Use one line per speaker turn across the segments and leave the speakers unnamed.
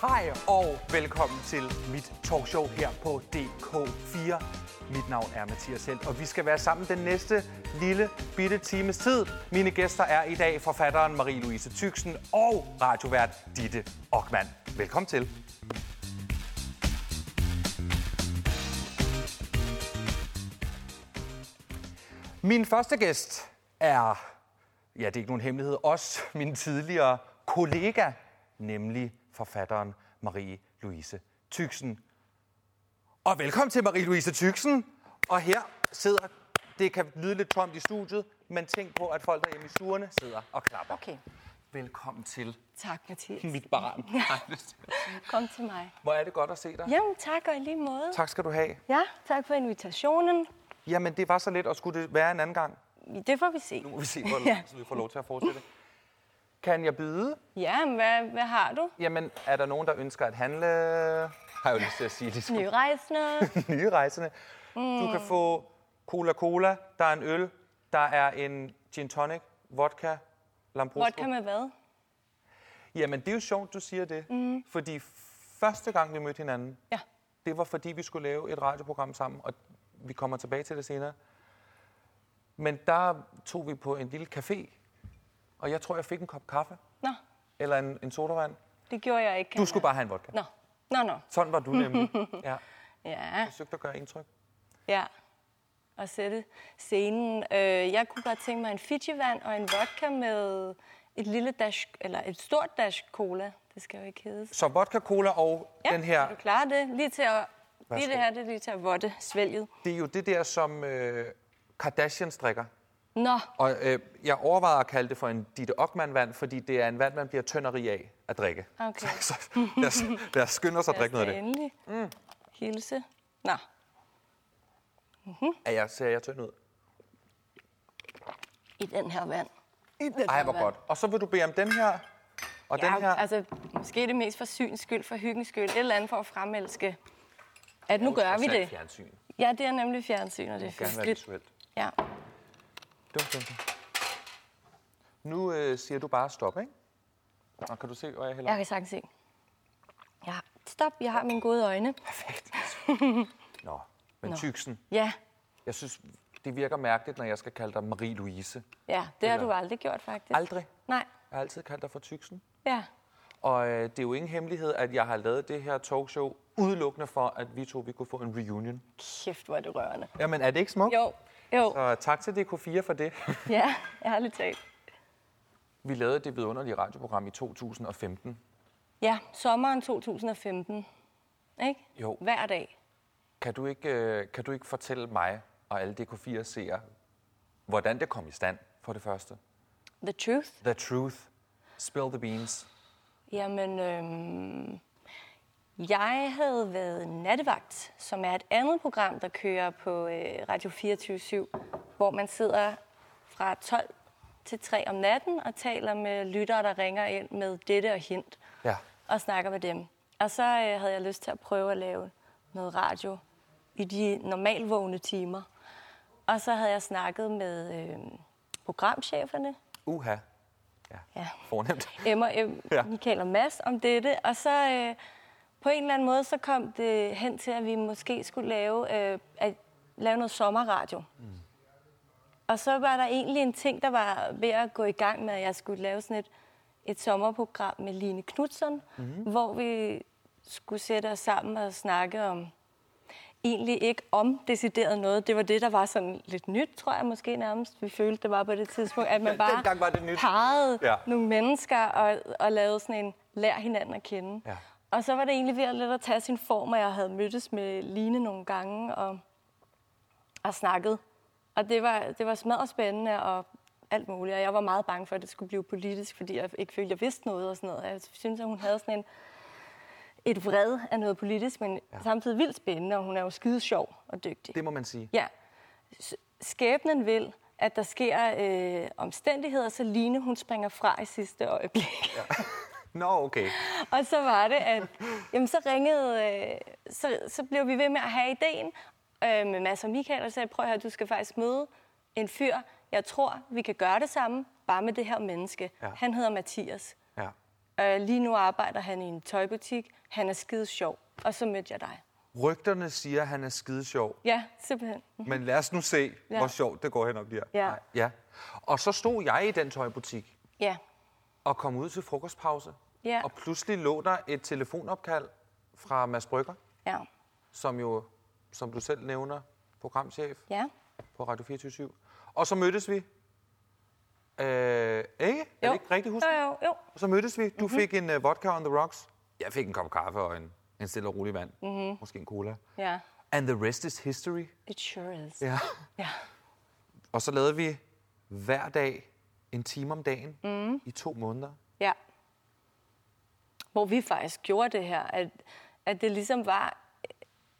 Hej og velkommen til mit talkshow her på DK4. Mit navn er Mathias Helt, og vi skal være sammen den næste lille bitte times tid. Mine gæster er i dag forfatteren Marie-Louise Tyksen og radiovært Ditte Ockmann. Velkommen til. Min første gæst er, ja det er ikke nogen hemmelighed, også min tidligere kollega, nemlig forfatteren Marie-Louise Tyksen. Og velkommen til Marie-Louise Tyksen. Og her sidder, det kan lyde lidt tomt i studiet, men tænk på, at folk derhjemme i stuerne sidder og klapper.
Okay.
Velkommen til
Tak, Mathias.
mit barn.
Kom til mig.
Hvor er det godt at se dig.
Jamen, tak og i lige måde.
Tak skal du have.
Ja, tak for invitationen.
Jamen, det var så lidt, og skulle det være en anden gang?
Det får vi se.
Nu må vi se, hvor langt vi får lov til at fortsætte. Kan jeg byde?
Ja, men hvad, hvad har du?
Jamen, er der nogen, der ønsker at handle? Har jeg jo lyst til at sige, det skulle
Nyrejsende.
nye rejsende. Du
Mm.
kan få Cola-Cola, der er en øl, der er en gin tonic, vodka, Lambrusco.
Vodka med hvad?
Jamen, det er jo sjovt, du siger det. Mm. Fordi første gang, vi mødte hinanden,
Ja.
det var fordi, vi skulle lave et radioprogram sammen, og vi kommer tilbage til det senere. Men der tog vi på en lille café, og jeg tror, jeg fik en kop kaffe
Nå,
eller en, en sodavand.
det gjorde jeg ikke.
Du skulle bare have en vodka.
Nå, nå, nå.
Sådan var du nemlig. Ja,
Ja,
jeg søgte at gøre indtryk.
ja. Og sætte scenen. Øh, jeg kunne godt tænke mig en Fiji-vand og en vodka med et lille dash, eller et stort dash cola. Det skal jo ikke hedde.
Så vodka, cola og
Ja,
den her
er du klarer det? Lige til at... Lige
Værsgo.
det her, det er lige til at votte svælget.
Det er jo det der, som øh, Kardashians drikker.
Nå,
Og øh, jeg overvejer at kalde det for en Ditte Ockmann-vand, fordi det er en vand, man bliver tynderi af at drikke.
Okay.
Så, så lad, os, lad os skynde os at drikke noget af det.
Endelig. Mm. Hilse. Nå,
Er jeg, ser jeg tynd ud?
i den her vand. I den
Ej, hvor godt. Og så vil du bede om den her, og
Ja,
den her.
altså, måske er det mest for syns skyld, for hyggens skyld, et eller andet for at fremelske, at nu gør vi det.
Altså, Fjernsyn. Det
Ja, det er nemlig fjernsyn, og det er
må gerne være
festligt.
visuelt.
Ja.
Dum, dum, dum. Nu øh, siger du bare stop, ikke? Og kan du se, hvor jeg hælder?
Jeg kan sagtens se. Ja, stop, jeg har mine gode øjne.
Perfekt. Nå, men Nå. tyksen.
Ja,
Jeg synes, det virker mærkeligt, når jeg skal kalde dig Marie-Louise.
ja det har du aldrig gjort, faktisk.
Aldrig.
Nej,
Jeg har altid kaldt dig for Tyksen.
ja.
Og øh, det er jo ingen hemmelighed, at jeg har lavet det her talkshow udelukkende for, at vi to vi kunne få en reunion.
Kæft, hvor er det rørende.
Jamen, er det ikke smukt?
Jo, jo,
Så tak til DK4 for det.
ja, ærligt talt.
vi lavede det vidunderlige radioprogram i 2015.
Ja, sommeren 2015. Ikke?
Jo.
Hver dag.
Kan du ikke, øh, kan du ikke fortælle mig og alle DK4-seere, hvordan det kom i stand for det første?
The truth.
The truth. Spill the beans.
Jamen, øhm, jeg havde været nattevagt, som er et andet program, der kører på øh, Radio 24-7, hvor man sidder fra 12 til 3 om natten og taler med lyttere, der ringer ind med dette og hint,
Ja.
og snakker med dem. Og så øh, havde jeg lyst til at prøve at lave noget radio i de normalvågne timer. Og så havde jeg snakket med øh, programcheferne,
Uha. Ja.
Ja.
Fornemt.
Emma, øh, Em,
Ja.
ja. Michael og Mads om dette. Og så øh, på en eller anden måde, så kom det hen til, at vi måske skulle lave, øh, at, lave noget sommerradio. Mm. Og så var der egentlig en ting, der var ved at gå i gang med, at jeg skulle lave sådan et, et sommerprogram med Line Knudsen, mm.
Mm-hmm.
hvor vi skulle sætte os sammen og snakke om egentlig ikke om decideret noget. Det var det, der var sådan lidt nyt, tror jeg måske nærmest. Vi følte, det var på det tidspunkt, at man bare
Dengang var det nyt.
pegede
Ja.
ja. nogle mennesker og, og lavede sådan en lær hinanden at kende.
Ja.
Og så var det egentlig ved at lidt at tage sin form, og jeg havde mødtes med Line nogle gange og, og snakket. Og det var, det var smadret spændende og alt muligt. Og jeg var meget bange for, at det skulle blive politisk, fordi jeg ikke følte, jeg vidste noget og sådan noget. Jeg synes, at hun havde sådan en, et vred af noget politisk, men ja. samtidig vildt spændende, og hun er jo skide sjov og dygtig.
Det må man sige.
Ja. S- Skæbnen vil, at der sker øh, omstændigheder, så Line hun springer fra i sidste øjeblik. Ja.
Nå, okay.
og så var det, at jamen, så ringede, øh, så, så blev vi ved med at have ideen øh, med Mads og Michael, og sagde, prøv at høre, du skal faktisk møde en fyr, jeg tror, vi kan gøre det samme, bare med det her menneske.
Ja.
Ja. Han hedder Mathias.
Ja.
Øh, lige nu arbejder han i en tøjbutik. Han er skide sjov. Og så mødte jeg dig.
Rygterne siger, at han er skidesjov.
Ja, simpelthen.
Men lad os nu se, ja.
Mhm. Ja.
hvor sjovt det går hen og bliver.
Ja.
Nej, ja. Og så stod jeg i den tøjbutik
Ja.
og kom ud til frokostpause.
Ja.
Og pludselig lå der et telefonopkald fra Mads Brygger,
Ja.
som jo, som du selv nævner, programchef
Ja.
på Radio 24 Og så mødtes vi. Øh, ikke? Er det ikke rigtigt husk?
Jo, Mhm. jo, jo.
Og så mødtes vi. Du fik en uh, vodka on the rocks. Jeg fik en kop kaffe og en, en stille og rolig vand.
Mhm.
Mm-hmm. Måske en cola.
Ja.
And the rest is history.
It sure is.
Ja.
Ja.
Og så lavede vi hver dag en time om dagen mm. i to måneder.
Ja. Hvor vi faktisk gjorde det her, at, at det ligesom var...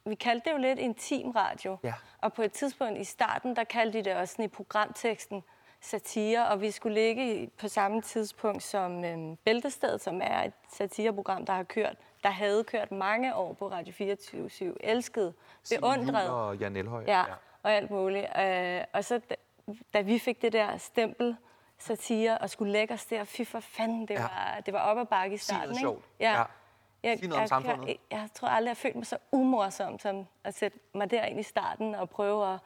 Vi kaldte det jo lidt intim radio.
Ja.
Og på et tidspunkt i starten, der kaldte de det også sådan i programteksten satire, og vi skulle ligge i- på samme tidspunkt som øhm, Bæltestedet, som er et satireprogram, der har kørt, der havde kørt mange år på Radio 24 Elsket, beundret.
Juhl Og Jan Elhøj.
Ja, og alt muligt. Øh, og så da, da vi fik det der stempel, satire, og skulle lægge os der, fy for fanden, det,
Ja.
ja. var, det var op ad bakke i starten.
noget
ikke?
sjovt. Ja.
Ja. Jeg,
Sig noget om
jeg,
samfundet.
jeg, jeg tror aldrig, jeg har følt mig så umorsom, som at sætte mig derind i starten og prøve at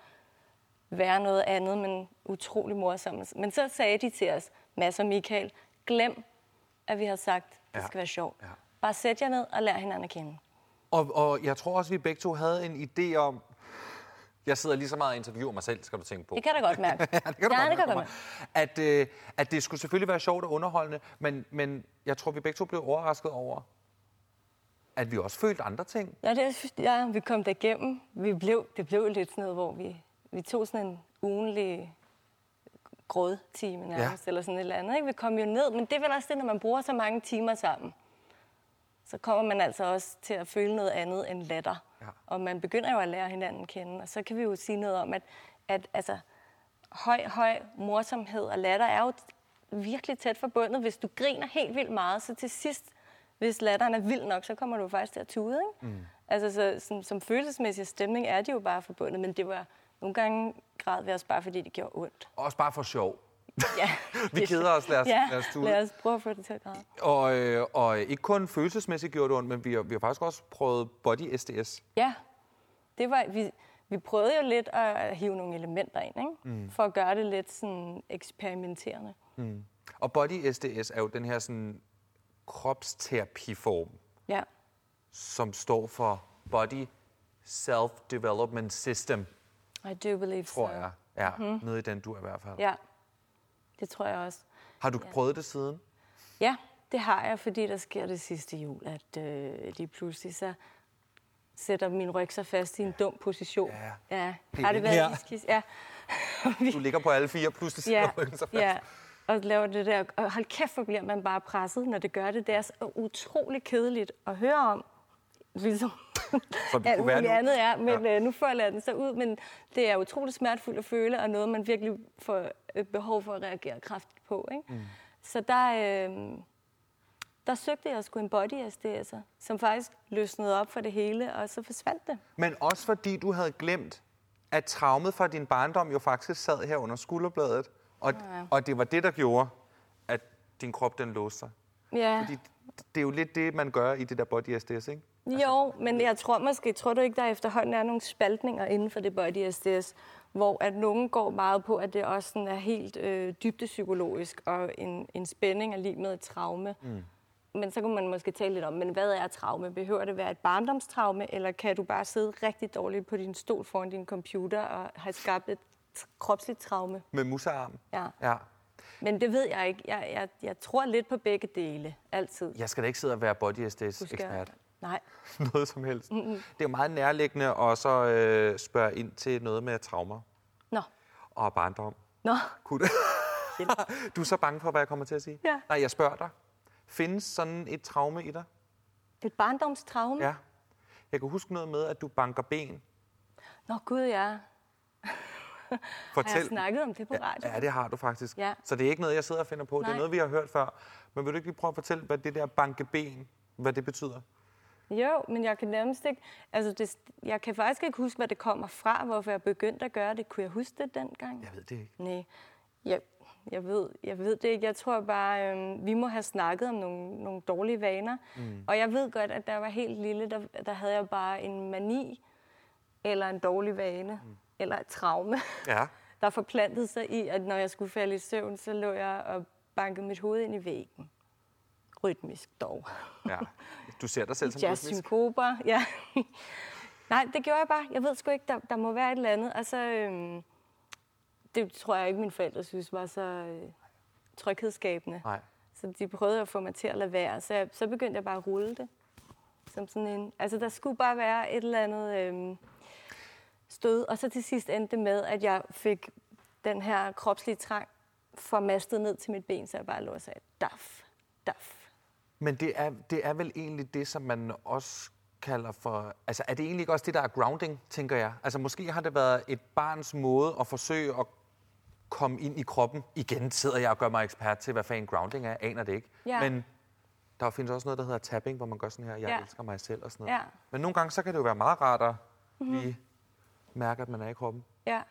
være noget andet, men utrolig morsom. Men så sagde de til os, Mads og Michael, glem, at vi har sagt, det
Ja.
skal være sjovt.
Ja.
Bare sæt jer ned og lær hinanden at kende.
Og, og jeg tror også, vi begge to havde en idé om... Jeg sidder lige så meget og interviewer mig selv, skal du tænke på.
Det kan jeg da godt mærke.
ja, det kan du
ja,
godt
det kan
mærke
jeg
på
godt
mig. At, øh, at det skulle selvfølgelig være sjovt og underholdende, men, men jeg tror, vi begge to blev overrasket over, at vi også følte andre ting.
Ja, det, synes- ja, vi kom derigennem. Vi blev, det blev lidt sådan noget, hvor vi, vi tog sådan en ugenlig grådtime nærmest, ja. eller sådan et eller andet. Ikke? Vi kom jo ned, men det er vel også det, når man bruger så mange timer sammen. Så kommer man altså også til at føle noget andet end latter.
Ja.
Ja. Og man begynder jo at lære hinanden at kende, og så kan vi jo sige noget om, at, at altså, høj, høj morsomhed og latter er jo virkelig tæt forbundet. Hvis du griner helt vildt meget, så til sidst, hvis latteren er vild nok, så kommer du faktisk til at tude. Ikke? Mm. Altså, så, som, som følelsesmæssig stemning er de jo bare forbundet, men det var nogle gange græd vi også bare, fordi det gjorde ondt.
Også bare for sjov.
Ja,
Vi keder os, lad os,
ja,
lad os tude.
lad os prøve at få det til at græde.
Og, øh, og ikke kun følelsesmæssigt gjorde det ondt, men vi har, vi har faktisk også prøvet body SDS.
Ja, det var, vi, vi prøvede jo lidt at hive nogle elementer ind, ikke? Mm. for at gøre det lidt sådan eksperimenterende.
Og body SDS er jo den her sådan, kropsterapiform,
Ja,
som står for Body Self-Development System,
I do believe so.
tror jeg. Ja, mm-hmm. nede i den du i hvert fald.
Mhm. Ja, det tror jeg også.
Har du prøvet det siden?
Ja, det har jeg, fordi der sker det sidste jul, at øh, lige pludselig så sætter min ryg sig fast i en dum position.
Ja.
ja.
Helt
Har det været
her.
ja. Skis? Ja.
Du ligger på alle fire, pludselig sidder
ja.
ryggen så fast.
ja. Og laver det der. Og hold kæft, hvor bliver man bare presset, når det gør det. Det er så utrolig kedeligt at høre om. Ligesom
Som det
alt
kunne være
muligt
nu.
andet er. Men ja. øh, nu folder jeg den så ud. Men det er utrolig smertefuldt at føle, og noget, man virkelig får øh, behov for at reagere kraftigt på. Ikke? Mm. Så der, øh, der søgte jeg sgu en body SDS'er, som faktisk løsnede op for det hele, og så forsvandt det.
Men også fordi du havde glemt, at traumet fra din barndom jo faktisk sad her under skulderbladet. Og, ja. og det var det, der gjorde, at din krop den låste sig.
Ja.
Fordi det er jo lidt det, man gør i det der body SDS, ikke?
Jo, men jeg tror måske, tror du ikke, der efterhånden er nogle spaltninger inden for det body SDS, hvor at nogen går meget på, at det også sådan er helt øh, dybdepsykologisk og en, en spænding er lige med et traume. Mm. Men så kunne man måske tale lidt om, men hvad er traume? Behøver det være et barndomstraume, eller kan du bare sidde rigtig dårligt på din stol foran din computer og have skabt et t- kropsligt traume?
Med musarm.
Ja.
ja.
Men det ved jeg ikke. Jeg, jeg, jeg tror lidt på begge dele, altid.
Jeg skal da ikke sidde og være body
Du skal-
SDS-ekspert.
Nej.
noget som helst. Mm-hmm. Det er jo meget nærliggende at så øh, spørge ind til noget med traumer
Nå.
og barndom.
Nå.
Kunne du... du er så bange for, hvad jeg kommer til at sige?
Ja.
Nej, jeg spørger dig. Findes sådan et traume i dig?
Et barndomstraume?
Ja. Jeg kan huske noget med, at du banker ben.
Nå gud, ja. Har jeg
Fortæl.
snakket om det på radio?
Ja, det har du faktisk.
Ja.
Så det er ikke noget, jeg sidder og finder på. Det er
Nej.
noget, vi har hørt før. Men vil du ikke lige prøve at fortælle, hvad det der banke ben, hvad det betyder?
Jo, men jeg kan nærmest ikke... Altså, det, jeg kan faktisk ikke huske, hvad det kommer fra, hvorfor jeg begyndte at gøre det. Kunne jeg huske det dengang?
Jeg ved det ikke.
Nej. Jeg, Jeg ved, jeg ved det ikke. Jeg tror bare, øhm, vi må have snakket om nogle, nogle dårlige vaner. Mm. Og jeg ved godt, at da jeg var helt lille, der, der havde jeg bare en mani, eller en dårlig vane, mm. eller et traume,
Ja.
der forplantede sig i, at når jeg skulle falde i søvn, så lå jeg og bankede mit hoved ind i væggen. Rytmisk dog.
ja. Du ser dig selv som
Jazz
rytmisk.
synkoper, ja. Nej, det gjorde jeg bare. Jeg ved sgu ikke, der, der må være et eller andet. Og så, øhm, det tror jeg ikke, mine forældre synes var så øh, tryghedsskabende.
Nej.
Så de prøvede at få mig til at lade være, så, jeg, så begyndte jeg bare at rulle det. Som sådan en, altså, der skulle bare være et eller andet øhm, stød. Og så til sidst endte det med, at jeg fik den her kropslige trang formastet ned til mit ben, så jeg bare lå og sagde, daf, daf.
Men det er, det er vel egentlig det, som man også kalder for... Altså, er det egentlig ikke også det, der er grounding, tænker jeg? Altså, måske har det været et barns måde at forsøge at komme ind i kroppen. Igen sidder jeg og gør mig ekspert til, hvad fanden grounding er. Aner det ikke.
Ja.
Men der findes også noget, der hedder tapping, hvor man gør sådan her, jeg
Ja.
elsker mig selv og sådan noget.
Ja, Mhm.
Men nogle gange, så kan det jo være meget rart at lige mærke, at man er i kroppen.
ja.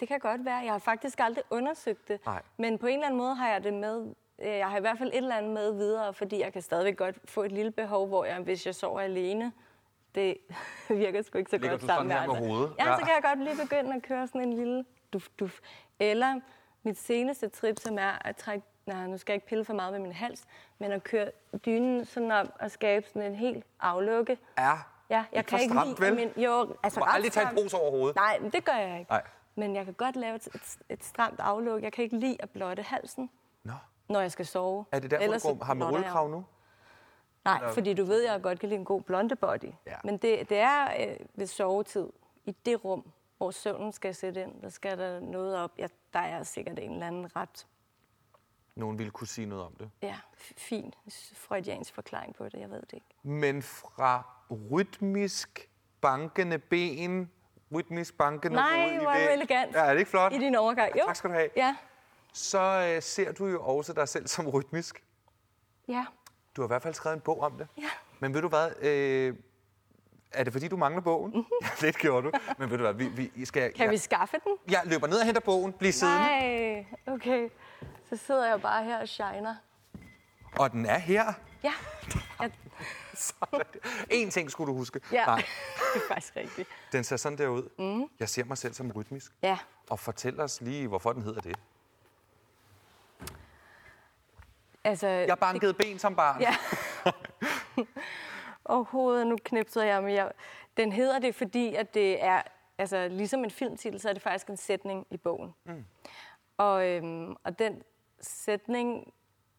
Det kan godt være. Jeg har faktisk aldrig undersøgt det.
Nej.
Men på en eller anden måde har jeg det med. øh, Jeg har i hvert fald et eller andet med videre, fordi jeg kan stadigvæk godt få et lille behov, hvor jeg, hvis jeg sover alene, det virker sgu ikke så
Ligger
godt
du
sammen
sådan her med
andre.
hovedet?
Ja,
Ja.
så kan jeg godt lige begynde at køre sådan en lille duf, duf. Eller mit seneste trip, som er at trække... Nej, nu skal jeg ikke pille for meget ved min hals, men at køre dynen sådan om og skabe sådan en helt aflukke.
Ja.
Ja, jeg
Ikke
kan
for
ikke
stramt,
lide...
vel?
Min, jo, altså
Du må
ret
aldrig tage en
stramt.
pose over hovedet.
Nej, men det gør jeg ikke.
Nej.
Men jeg kan godt lave et, et, et stramt afluk. Jeg kan ikke lide at blotte halsen,
Nå.
når jeg skal sove.
Er det derfor, Ellers, du går, har med
blotter jeg.
rullekrav nu?
Nej, fordi du ved, at jeg godt kan lide en god blonde body.
Ja.
Men det, det er øh, ved sovetid, i det rum, hvor søvnen skal sætte ind, der skal der noget op. Ja, der er sikkert en eller anden ret
Nogen ville kunne sige noget om det.
ja, f- fin freudiansk forklaring på det. Jeg ved det ikke.
Men fra rytmisk bankende ben, rytmisk bankende
Nej,
hoved i
hvor er du
væg.
elegant.
Ja, er det ikke flot?
I din overgang. Jo.
Tak skal du have.
Ja,
Så øh, ser du jo også dig selv som rytmisk.
ja,
Du har i hvert fald skrevet en bog om det.
Ja.
Men ved du hvad, øh, er det fordi, du mangler bogen? Ja, lidt gjorde du. Men ved du hvad, vi, vi skal...
Mhm. kan ja.
jeg,
vi skaffe den?
jeg løber ned og henter bogen, bliv siddende.
Nej, okay. Så sidder jeg bare her og shiner.
Og den er her.
Ja, ja
Sådan. En ting skulle du huske.
Ja, Mhm.
Nej,
det er faktisk rigtigt.
den ser sådan der ud. Mm. Jeg ser mig selv som rytmisk.
Ja.
Og fortæl os lige, hvorfor den hedder
Øh,
det.
Altså,
Jeg bankede ben som barn.
Ja. Overhovedet, nu knipsede jeg, men jeg, den hedder det, fordi at det er, altså ligesom en filmtitel, så er det faktisk en sætning i bogen. Mm. Og, øhm, og den sætning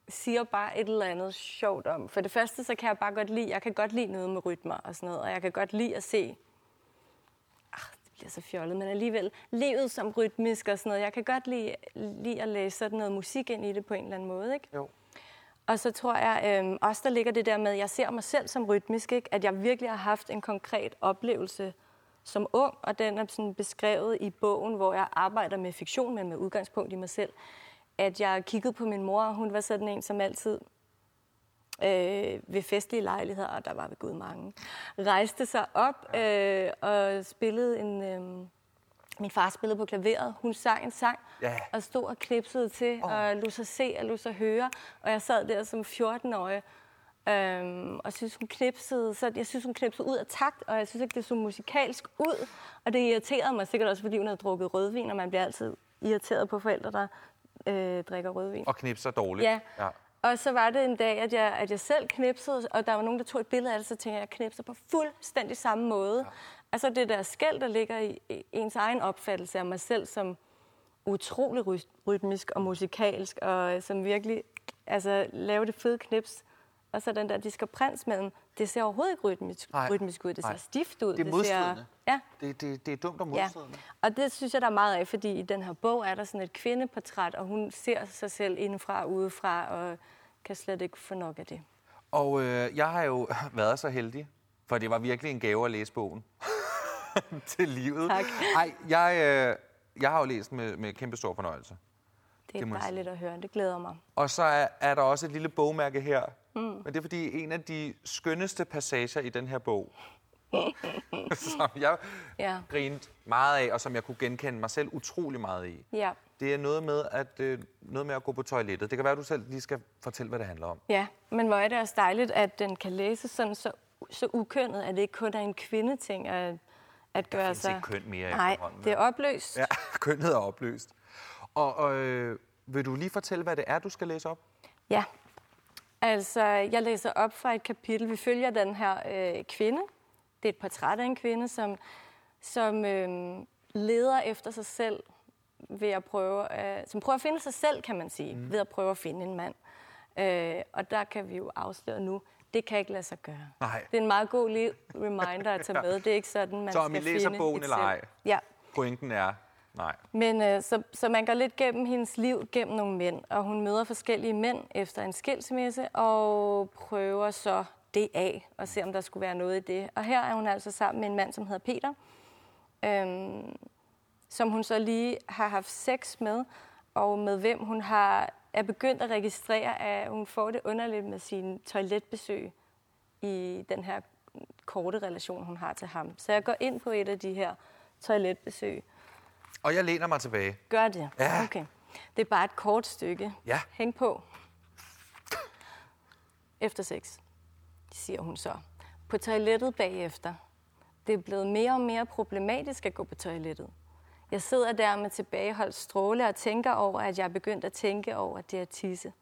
siger bare et eller andet sjovt om. For det første, så kan jeg bare godt lide, jeg kan godt lide noget med rytmer og sådan noget, og jeg kan godt lide at se ah, det bliver så fjollet, men alligevel, livet som rytmisk og sådan noget. Jeg kan godt lide, lide at læse sådan noget musik ind i det på en eller anden måde, ikke?
Jo.
Og så tror jeg øh, også, der ligger det der med, at jeg ser mig selv som rytmisk, ikke? at jeg virkelig har haft en konkret oplevelse som ung, og den er sådan beskrevet i bogen, hvor jeg arbejder med fiktion, men med udgangspunkt i mig selv, at jeg kiggede på min mor, og hun var sådan en, som altid øh, ved festlige lejligheder, og der var ved Gud mange, rejste sig op øh, og spillede en... Øh, min far spillede på klaveret, hun sang en sang,
Ja.
og stod og klipsede til, oh. og lod sig se og lod sig høre. Og jeg sad der som 14-årig, øhm, og synes hun knipsede, så jeg synes, hun knipsede ud af takt, og jeg synes ikke, det så musikalsk ud. Og det irriterede mig sikkert også, fordi hun havde drukket rødvin, og man bliver altid irriteret på forældre, der øh, drikker rødvin.
Og knipser dårligt.
Ja.
ja.
Og så var det en dag, at jeg, at jeg selv knipsede, og der var nogen, der tog et billede af det, så tænkte jeg, at jeg knipser på fuldstændig samme måde. Ja. Altså det der skæld, der ligger i i ens egen opfattelse af mig selv som utrolig ry- rytmisk og musikalsk, og øh, som virkelig altså, laver det fede knips. Og så den der, de skal prins med den. Det ser overhovedet ikke rytmisk,
Nej.
rytmisk ud. Det ser
Nej.
stift ud.
Det er modstridende.
Ser, ja,
Det, det, det er dumt og
Ja,
modstridende.
og det synes jeg, der er meget af, fordi i den her bog er der sådan et kvindeportræt, og hun ser sig selv indefra og udefra, og kan slet ikke få nok af det.
Og øh, jeg har jo været så heldig, for det var virkelig en gave at læse bogen. til livet.
Tak.
Ej, jeg, øh, jeg har jo læst med, med kæmpe stor fornøjelse.
Det er
Det må
det
jeg sige.
dejligt at høre, det glæder mig.
Og så er, er der også et lille bogmærke her. Mm. Men det er fordi en af de skønneste passager i den her bog, som jeg
Ja.
grinte meget af, og som jeg kunne genkende mig selv utrolig meget i.
Ja.
Det er noget med, at, øh, noget med at gå på toilettet. Det kan være, at du selv lige skal fortælle, hvad det handler om.
Ja, men hvor er det også dejligt, at den kan læses sådan så, så ukønnet, at det ikke kun er en kvindeting at, at gøre
findes
sig...
ikke køn mere
Nej,
efterhånden,
det er opløst.
Ja, kønnet er opløst. Og, og øh, vil du lige fortælle, hvad det er, du skal læse op?
Ja. Altså, jeg læser op fra et kapitel. Vi følger den her øh, kvinde. Det er et portræt af en kvinde, som, som øh, leder efter sig selv ved at prøve... Øh, som prøver at finde sig selv, kan man sige, mm. ved at prøve at finde en mand. Øh, og der kan vi jo afsløre nu, det kan ikke lade sig gøre.
Nej.
Det er en meget god lige reminder at tage med. Det er ikke sådan, man
Så om
skal
I læser
finde
bogen
et
eller
selv.
ej?
Ja.
Pointen er, nej.
Men øh, så, så man går lidt gennem hendes liv gennem nogle mænd, og hun møder forskellige mænd efter en skilsmisse, og prøver så det af, og ser om der skulle være noget i det. Og her er hun altså sammen med en mand, som hedder Peter, øhm, som hun så lige har haft sex med, og med hvem hun har, er begyndt at registrere, at hun får det underligt med sine toiletbesøg i den her korte relation, hun har til ham. Så jeg går ind på et af de her toiletbesøg.
Og jeg læner mig tilbage.
Gør det?
Ja.
Okay. Det er bare et kort stykke.
Ja.
Hæng på. Efter sex, siger hun så. På toilettet bagefter. Det er blevet mere og mere problematisk at gå på toilettet. Jeg sidder der med tilbageholdt stråle og tænker over, at jeg er begyndt at tænke over det at tisse.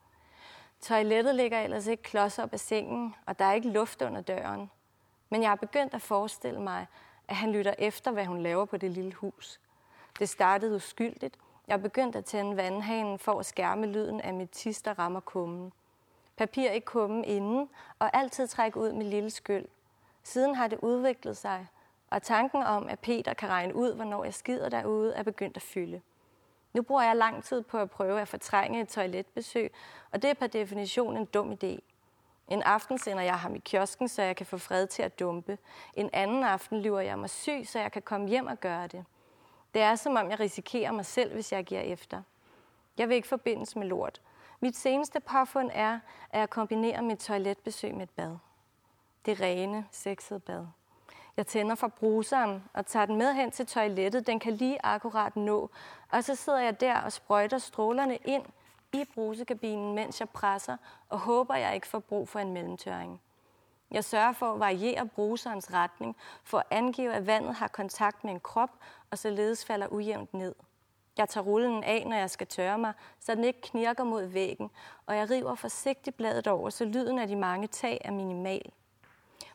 Toilettet ligger ellers ikke klods op af sengen, og der er ikke luft under døren. Men jeg er begyndt at forestille mig, at han lytter efter, hvad hun laver på det lille hus. Det startede uskyldigt. Jeg er begyndt at tænde vandhanen for at skærme lyden af mit tis, der rammer kummen. Papir i kummen inden, og altid trække ud med lille skyld. Siden har det udviklet sig, og tanken om, at Peter kan regne ud, hvornår jeg skider derude, er begyndt at fylde. Nu bruger jeg lang tid på at prøve at fortrænge et toiletbesøg, og det er per definition en dum idé. En aften sender jeg ham i kiosken, så jeg kan få fred til at dumpe. En anden aften lyver jeg mig syg, så jeg kan komme hjem og gøre det. Det er som om, jeg risikerer mig selv, hvis jeg giver efter. Jeg vil ikke forbindes med lort. Mit seneste påfund er, at jeg kombinerer mit toiletbesøg med et bad. Det rene, sexede bad. Jeg tænder for bruseren og tager den med hen til toilettet. Den kan lige akkurat nå. Og så sidder jeg der og sprøjter strålerne ind i brusekabinen, mens jeg presser, og håber, jeg ikke får brug for en mellemtøring. Jeg sørger for at variere bruserens retning, for at angive, at vandet har kontakt med en krop, og således falder ujævnt ned. Jeg tager rullen af, når jeg skal tørre mig, så den ikke knirker mod væggen, og jeg river forsigtigt bladet over, så lyden af de mange tag er minimal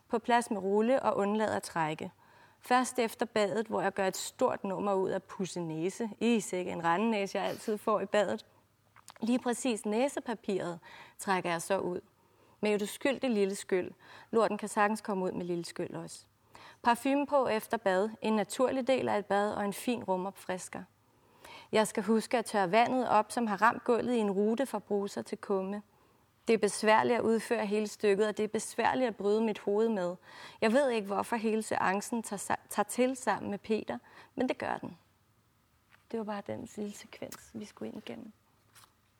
på plads med rulle og undlader at trække. Først efter badet, hvor jeg gør et stort nummer ud af pusse næse. I sikke en rendenæse, jeg altid får i badet. Lige præcis næsepapiret trækker jeg så ud. Med et uskyldigt lille skyld. Lorten kan sagtens komme ud med lille skyld også. Parfume på efter bad, en naturlig del af et bad og en fin rumopfrisker. Jeg skal huske at tørre vandet op, som har ramt gulvet i en rute fra bruser til kumme. Det er besværligt at udføre hele stykket, og det er besværligt at bryde mit hoved med. Jeg ved ikke, hvorfor hele seancen tager, sa- tager til sammen med Peter, men det gør den. Det var bare den lille sekvens, vi skulle ind igennem.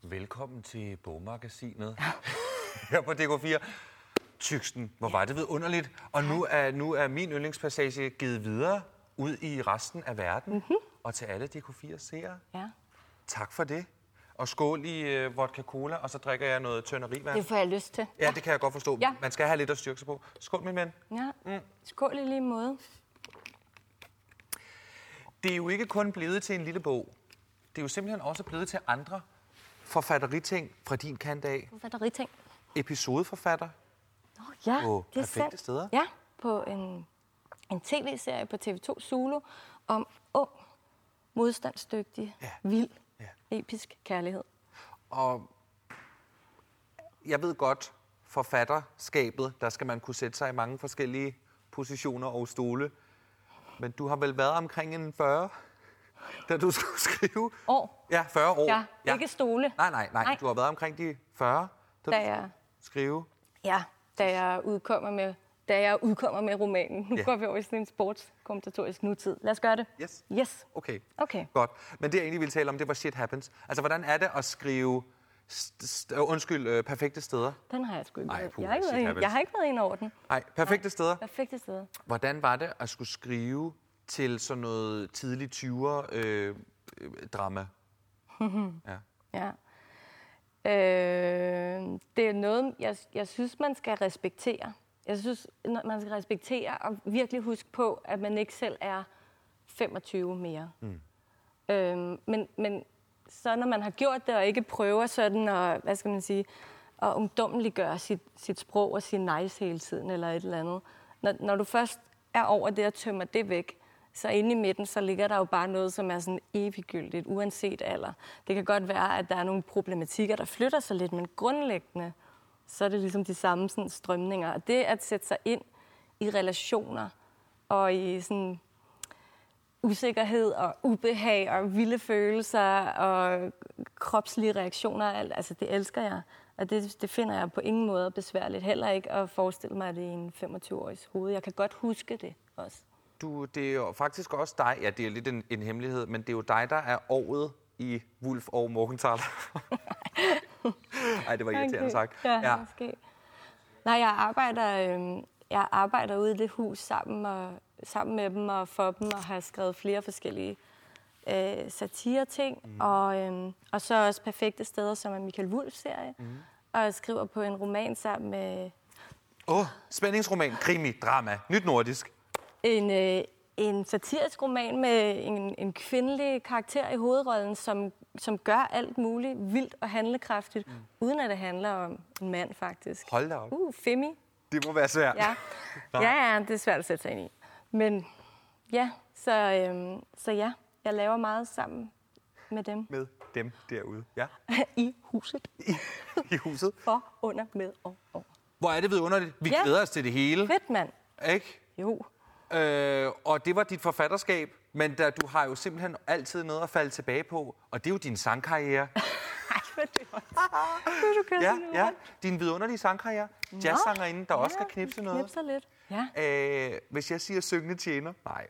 Velkommen til bogmagasinet her på DK4. Tyksten, hvor var det vidunderligt. Og nu er, nu er min yndlingspassage givet videre ud i resten af verden. Mm-hmm. Og til alle DK4 seere,
Ja.
tak for det. Og skål i øh, vodka cola, og så drikker jeg noget tønderivand.
Det får jeg lyst til.
Ja, det kan jeg godt forstå.
Ja.
Man skal have lidt at styrke sig på. Skål, min ven.
Ja. Skål i lige måde.
Det er jo ikke kun blevet til en lille bog. Det er jo simpelthen også blevet til andre forfatteriting fra din kant af.
Hvad er der rigtig ting?
Episodeforfatter.
Nå, ja,
På
det er
perfekte
sandt.
steder.
Ja, på en, en tv-serie på TV2 Zulu om ung, modstandsdygtig,
Ja.
vild,
Ja.
episk kærlighed.
Og jeg ved godt, forfatterskabet, der skal man kunne sætte sig i mange forskellige positioner og stole. Men du har vel været omkring en 40, da du skulle skrive?
År.
Ja, 40 år.
Ja, ikke stole.
Nej, nej, nej,
Nej.
nej. Du har været omkring de 40, da,
Da
du
jeg-
skulle skrive.
Ja, da jeg udkommer med, da jeg udkommer med romanen. Nu
Ja.
går vi over i sådan en sportskommentatorisk nutid. Lad os gøre det.
Yes.
Yes.
Okay.
Okay.
Godt. Men det, jeg egentlig ville tale om, det var shit happens. Altså, hvordan er det at skrive St- st- undskyld, øh, perfekte steder.
Den har jeg sgu ikke
Ej,
været.
puha,
Jeg har ikke
shit
været, inde-
happens.
jeg har ikke været ind over den.
Nej, perfekte steder.
Perfekte steder.
Hvordan var det at skulle skrive til sådan noget tidlig 20'er øh, øh, drama? ja.
Ja. Øh, det er noget, jeg, jeg synes, man skal respektere. Jeg synes, når- man skal respektere og virkelig huske på, at man ikke selv er 25 mere. Mm. Øh, men, men så når man har gjort det og ikke prøver sådan at, hvad skal man sige, at ungdommeliggøre sit, sit sprog og sige nice hele tiden eller et eller andet. Når, når du først er over det og tømmer det væk, så inde i midten, så ligger der jo bare noget, som er sådan eviggyldigt, uanset alder. Det kan godt være, at der er nogle problematikker, der flytter sig lidt, men grundlæggende, så er det ligesom de samme sådan, strømninger. Og det at sætte sig ind i relationer og i sådan usikkerhed og ubehag og vilde følelser og kropslige reaktioner. og alt. Altså, det elsker jeg. Og det, det finder jeg på ingen måde besværligt. Heller ikke at forestille mig, at det er en 25-årigs hoved. Jeg kan godt huske det også.
Du, det er jo faktisk også dig, ja, det er lidt en, en hemmelighed, men det er jo dig, der er året i Wolf og Morgenthaler. Nej, det var irriterende
Okay.
sagt.
Ja, ja. måske. Nej, jeg arbejder, øh, jeg arbejder ude i det hus sammen, og, sammen med dem og for dem, og har skrevet flere forskellige øh, satire-ting, mm. og, øh, og så også Perfekte Steder, som er Michael Wulfs serie, mm. og jeg skriver på en roman sammen med
Åh, oh, spændingsroman, krimi, drama, nyt nordisk.
en, øh, en satirisk roman med en, en kvindelig karakter i hovedrollen, som, som gør alt muligt vildt og handlekraftigt, mm. uden at det handler om en mand, faktisk.
Hold da op.
Uh, Femi.
Det må være svært.
Ja. ja, ja, det er svært at sætte sig ind i. Men ja, så, øhm, så ja, jeg laver meget sammen med dem
Med dem derude. Ja,
i huset.
i, i huset.
For, under, med og over.
Hvor er det vidunderligt. Vi
Ja.
glæder os til det hele,
Fedt, mand.
ikke?
Jo.
Øh, og det var dit forfatterskab, men der, du har jo simpelthen altid noget at falde tilbage på, og det er jo din sangkarriere.
Ej, hvor er det godt. du kører
Ja,
sådan
ja.
rundt.
Din vidunderlige sangkarriere. Jazzsangerinde, der også
Ja,
skal knipse noget.
Knipser lidt. Ja.
Øh, hvis jeg siger syngende tjener, nej.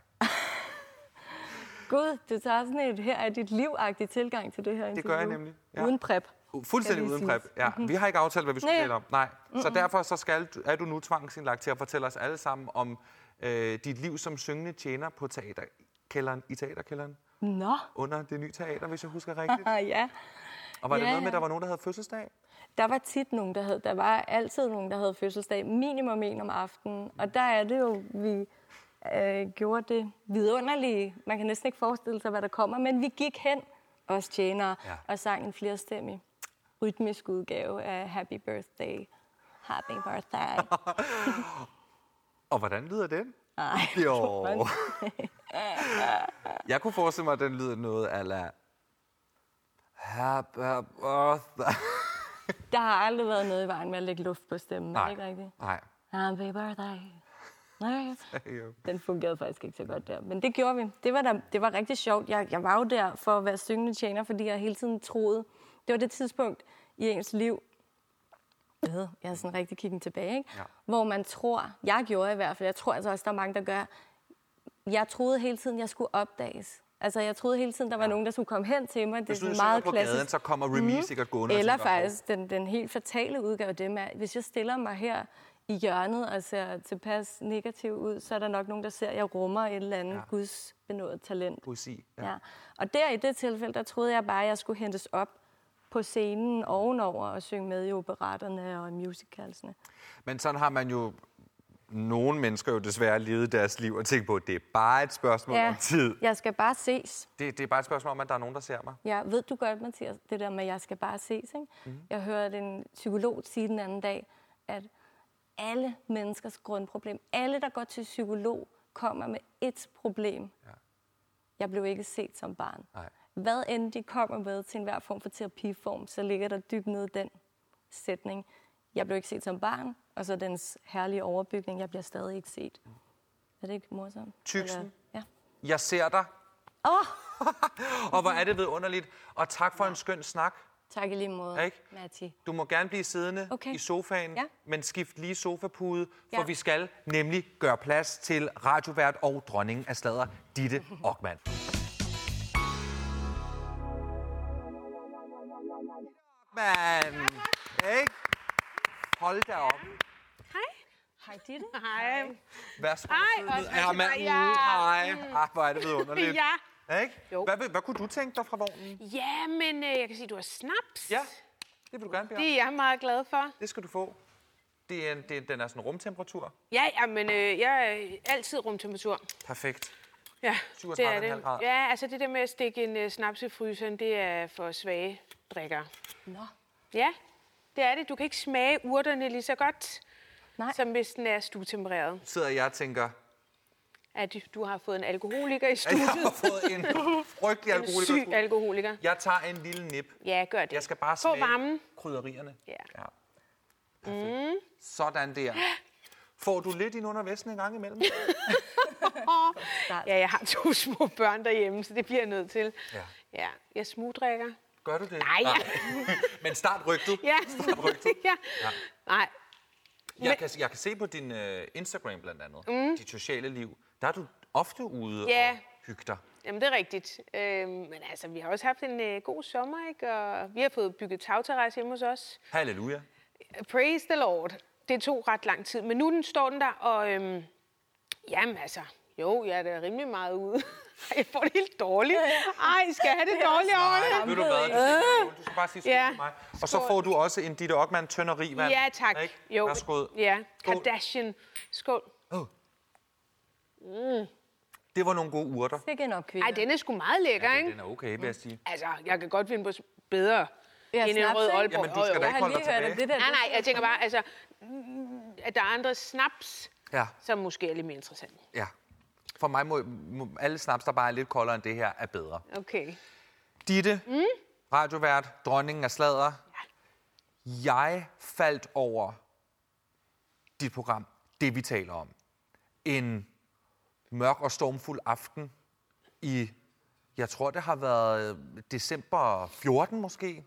Gud, du tager sådan et her er dit livagtig tilgang til det her interview.
gør jeg nemlig, ja.
Uden prep.
U-
Skal
Fuldstændig
lige
uden prep.
siges.
Ja, vi har ikke aftalt, hvad vi skulle
Nej.
tale om. Nej. Så derfor så skal du, er du nu tvangsindlagt til at fortælle os alle sammen om øh, dit liv som syngende tjener på teaterkælderen, i teaterkælderen
Nå,
under det nye teater, hvis jeg husker rigtigt.
ah, ja.
Og var det
Ja,
noget med,
ja.
at der var nogen, der havde fødselsdag?
Der var tit nogen, der havde, der var altid nogen, der havde fødselsdag, minimum en om aftenen. Og der er det jo, vi øh, gjorde det vidunderlige. Man kan næsten ikke forestille sig, hvad der kommer, men vi gik hen, os tjenere,
Ja.
ja. og sang en flerstemmig rytmisk udgave af Happy Birthday. Happy birthday.
Og hvordan lyder den?
Ej,
Jo.
hvor
jeg kunne forestille mig, at den lyder noget ala... Happy birthday.
Der har aldrig været noget i vejen med at lægge luft på stemmen, er det
Nej,
ikke rigtigt?
nej.
Happy birthday. Nej.
Jo.
Den fungerede faktisk ikke så godt der. Men det gjorde vi. Det var, da, det var rigtig sjovt. Jeg, jeg var jo der for at være syngende tjener, fordi jeg hele tiden troede... Det var det tidspunkt i ens liv, ved, jeg er sådan rigtig kiggen tilbage, ikke?
Ja.
hvor man tror, jeg gjorde i hvert fald, jeg tror altså også, der er mange, der gør, jeg troede hele tiden, jeg skulle opdages. Altså, jeg troede hele tiden, der var ja. nogen, der skulle komme hen til mig. Det er
Hvis du
sådan
sidder
meget
på
klassisk. Mhm.
gaden, så kommer Remy sikkert gående. og
Eller
tænker, "Hov."
faktisk den, den helt fatale udgave, det med, at hvis jeg stiller mig her i hjørnet og ser tilpas negativ ud, så er der nok nogen, der ser, at jeg rummer et eller andet ja. gudsbenået talent.
Poesi. Ja.
Ja. Ja. Og der i det tilfælde, der troede jeg bare, at jeg skulle hentes op på scenen ovenover og synge med i operetterne og i musicalsene.
Men sådan har man jo... Nogle mennesker jo desværre levet deres liv og tænkt på, at det er bare et spørgsmål ja. om tid.
jeg skal bare ses.
Det, det er bare et spørgsmål om, at der er nogen, der ser mig.
Ja, ved du godt, Mathias, det der med, at jeg skal bare ses, ikke?
Mhm.
Mm. Jeg hørte en psykolog sige den anden dag, at alle menneskers grundproblem, alle, der går til psykolog, kommer med et problem. Ja. Jeg blev ikke set som barn.
Nej.
Hvad end de kommer med til enhver form for terapiform, så ligger der dybt nede i den sætning. Jeg blev ikke set som barn, og så dens herlige overbygning, jeg bliver stadig ikke set.
Mm.
Er det ikke morsomt?
Tyksen.
Eller- Ja.
Jeg ser dig.
Åh, oh,
Og hvor er det vidunderligt. Og tak for en skøn snak.
tak i lige måde,
Ikke?
Matti.
Du må gerne blive siddende okay.
Okay.
i sofaen, ja.
Ja.
men skift lige sofapude, for ja.
Ja.
vi skal nemlig gøre plads til radiovært og dronningen af slader, Ditte Ockmann. Ockmann, mand! Ikke? Hold da op.
Hej, Ditte.
Hej.
Værsgo.
Ej,
søde.
også hvis
ja,
det
mand.
var-
Ja.
ja.
Hej. Ah, hvor er det vidunderligt.
Ja.
Ikke?
Jo.
Hvad, hvad kunne du tænke dig fra vognen?
Ja, men øh, jeg kan sige, du har snaps.
Ja, det vil du gerne bede om.
Det er jeg meget glad for.
Det skal du få. Det er en, det, den er sådan rumtemperatur.
Ja, ja men øh, jeg er altid rumtemperatur.
Perfekt.
Ja,
37,5 grader.
Ja, altså det der med at stikke en øh, snaps i fryseren, det er for svage drikker.
Nå.
Ja, det er det. Du kan ikke smage urterne lige så godt,
Nej.
som hvis den er stuetempereret.
Sidder jeg og tænker,
At du har fået en alkoholiker i
at jeg
studiet.
har fået en frygtelig
En syg
alkoholiker.
alkoholiker.
Jeg tager en lille nip.
Ja, gør det.
Jeg skal bare
På
smage
varmen.
krydderierne.
Ja. Mm.
Perfekt. Sådan der. Får du lidt ind under vesten en gang imellem?
Ja, jeg har to små børn derhjemme, så det bliver jeg nødt til.
Ja.
ja jeg smugdrikker.
Gør du det?
Nej.
Men start rygtet.
Ja.
rygtet.
ja. Nej.
Jeg kan, jeg kan se på din øh, Instagram blandt andet, mm. dit sociale liv, der er du ofte ude
Ja.
og hygge dig.
Jamen, det er rigtigt. Øhm, men altså, vi har også haft en øh, god sommer, ikke? Og vi har fået bygget tagterrasse hjemme hos os.
Halleluja.
Praise the Lord. Det tog ret lang tid, men nu den står den der, og øhm, jamen altså, jo, jeg er da rimelig meget ude. Ej, jeg får det helt dårligt. Ej, skal jeg have det dårligt over det?
Ved du hvad, det er øh. du skal bare sige skål
Ja.
til mig. Og så får du også en Ditte Ockmann tønder vand.
Ja, tak.
Ikke?
Jo.
Værsgod.
Ja,
Skål.
Kardashian. Skål.
Åh. Det var nogle gode urter.
Sikke en opkvinde.
Ej, den er sgu meget lækker, ikke?
Den er okay, vil jeg sige.
Altså, jeg kan godt finde på s- bedre
Ja,
ja, end en
snaps,
rød
ikke?
Aalborg.
Jamen, du skal da
Jo, jo.
ikke
Jeg har
holde dig
lige hørt,
tilbage.
at det der...
Nej, nej, jeg tænker bare, altså, mm, at der er andre snaps,
Ja,
som måske er lidt mere interessante.
ja. For mig må, må alle snaps, der bare er lidt koldere end det her, er bedre.
Okay.
Ditte, mm? radiovært, dronningen af sladder. Ja. Jeg faldt over dit program, det vi taler om. En mørk og stormfuld aften i, jeg tror det har været øh, december 14 måske,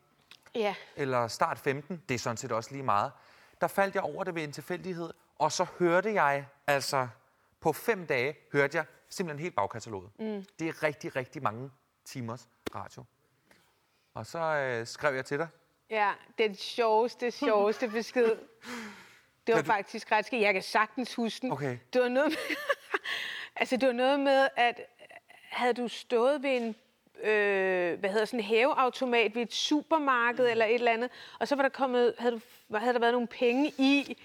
Ja.
eller start 15, det er sådan set også lige meget. Der faldt jeg over det ved en tilfældighed, og så hørte jeg, altså på fem dage, hørte jeg simpelthen helt bagkataloget. Mm. Det er rigtig, rigtig mange timers radio. Og så øh, skrev jeg til dig.
Ja, den sjoveste, sjoveste besked. Det var faktisk ret skidt. Jeg kan sagtens huske den.
Okay.
Det var noget med, altså, det var noget med, at havde du stået ved en øh, hvad hedder sådan en hæveautomat ved et supermarked eller et eller andet, og så var der kommet, havde, du, havde der været nogle penge i,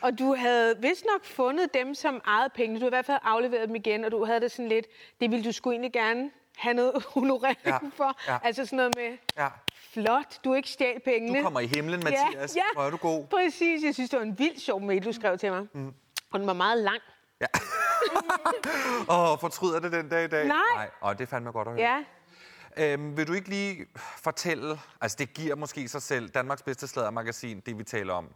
og du havde vist nok fundet dem som eget penge. Du havde i hvert fald afleveret dem igen, og du havde det sådan lidt, det ville du sgu egentlig gerne have noget honorering
Ja,
for.
ja.
Altså sådan noget med,
Ja,
Flot, du er ikke stjal pengene.
du kommer i himlen, Mathias. Hvor er du god.
Præcis, jeg synes, det var en vildt sjov mail, du skrev til mig. Mm. Og den var meget lang.
Åh, fortryder det den dag i dag?
Nej.
Nej. Og det fandt mig godt at høre.
Ja,
Øhm, vil du ikke lige fortælle, altså det giver måske sig selv, Danmarks bedste sladdermagasin, det vi taler om,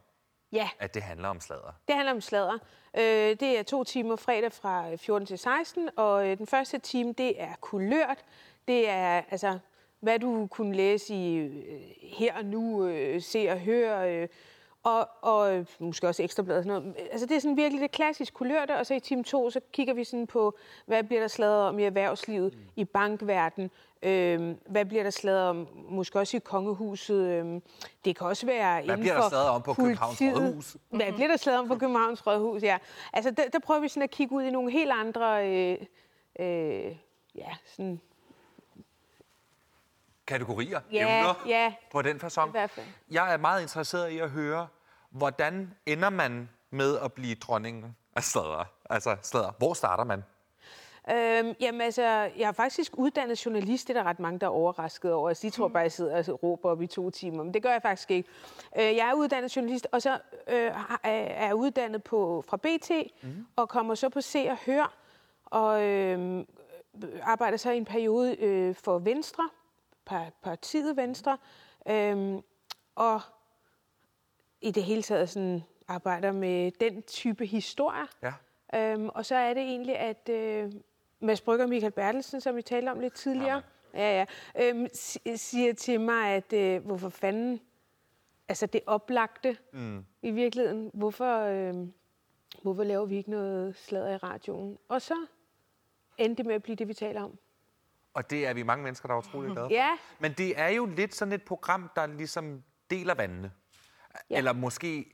ja
at det handler om sladder.
det handler om sladder. Øh, det er to timer fredag fra øh, 14 til 16, og øh, den første time, det er kulørt. Det er, altså, hvad du kunne læse i øh, her og nu, øh, se og høre, øh, og, og øh, måske også ekstrabladet og sådan noget. Altså, det er sådan virkelig det klassisk kulørte, og så i time 2, så kigger vi sådan på, hvad bliver der sladret om i erhvervslivet, mm. i bankverdenen, øh, hvad bliver der sladret om, måske også i kongehuset. Øh, det kan også være
Hvad
inden
bliver der
for
sladret om på Københavns
politiet.
Rådhus? Mm-hmm.
Hvad bliver der sladret om på Københavns Rådhus, ja. Altså, der, der prøver vi sådan at kigge ud i nogle helt andre... Øh, øh, ja, sådan...
Kategorier,
Ja,
emner,
ja.
på den façon.
I hvert fald.
Jeg er meget interesseret i at høre, hvordan ender man med at blive dronningen af sladder? Altså sladder. Hvor starter man?
Øhm, jamen altså, jeg er faktisk uddannet journalist, det er der ret mange, der er overrasket over. Altså, de tror bare, jeg sidder og råber op i to timer, men det gør jeg faktisk ikke. Øh, jeg er uddannet journalist, og så øh, har- er jeg uddannet på, fra BT, mm. og kommer så på Se og Hør, og øh, arbejder så i en periode øh, for Venstre, par- partiet Venstre, øh, og i det hele taget sådan, arbejder med den type historier.
Ja.
Øhm, og så er det egentlig, at øh, Mads Brygger og Michael Bertelsen, som vi talte om lidt tidligere, ja, ja, øhm, si- siger til mig, at øh, hvorfor fanden, altså det oplagte mm. i virkeligheden, hvorfor, øh, hvorfor laver vi ikke noget sladder i radioen? Og så endte det med at blive det, vi taler om.
Og det er vi mange mennesker, der er utrolig glade for.
Ja,
Men det er jo lidt sådan et program, der ligesom deler vandene.
Ja.
Eller måske,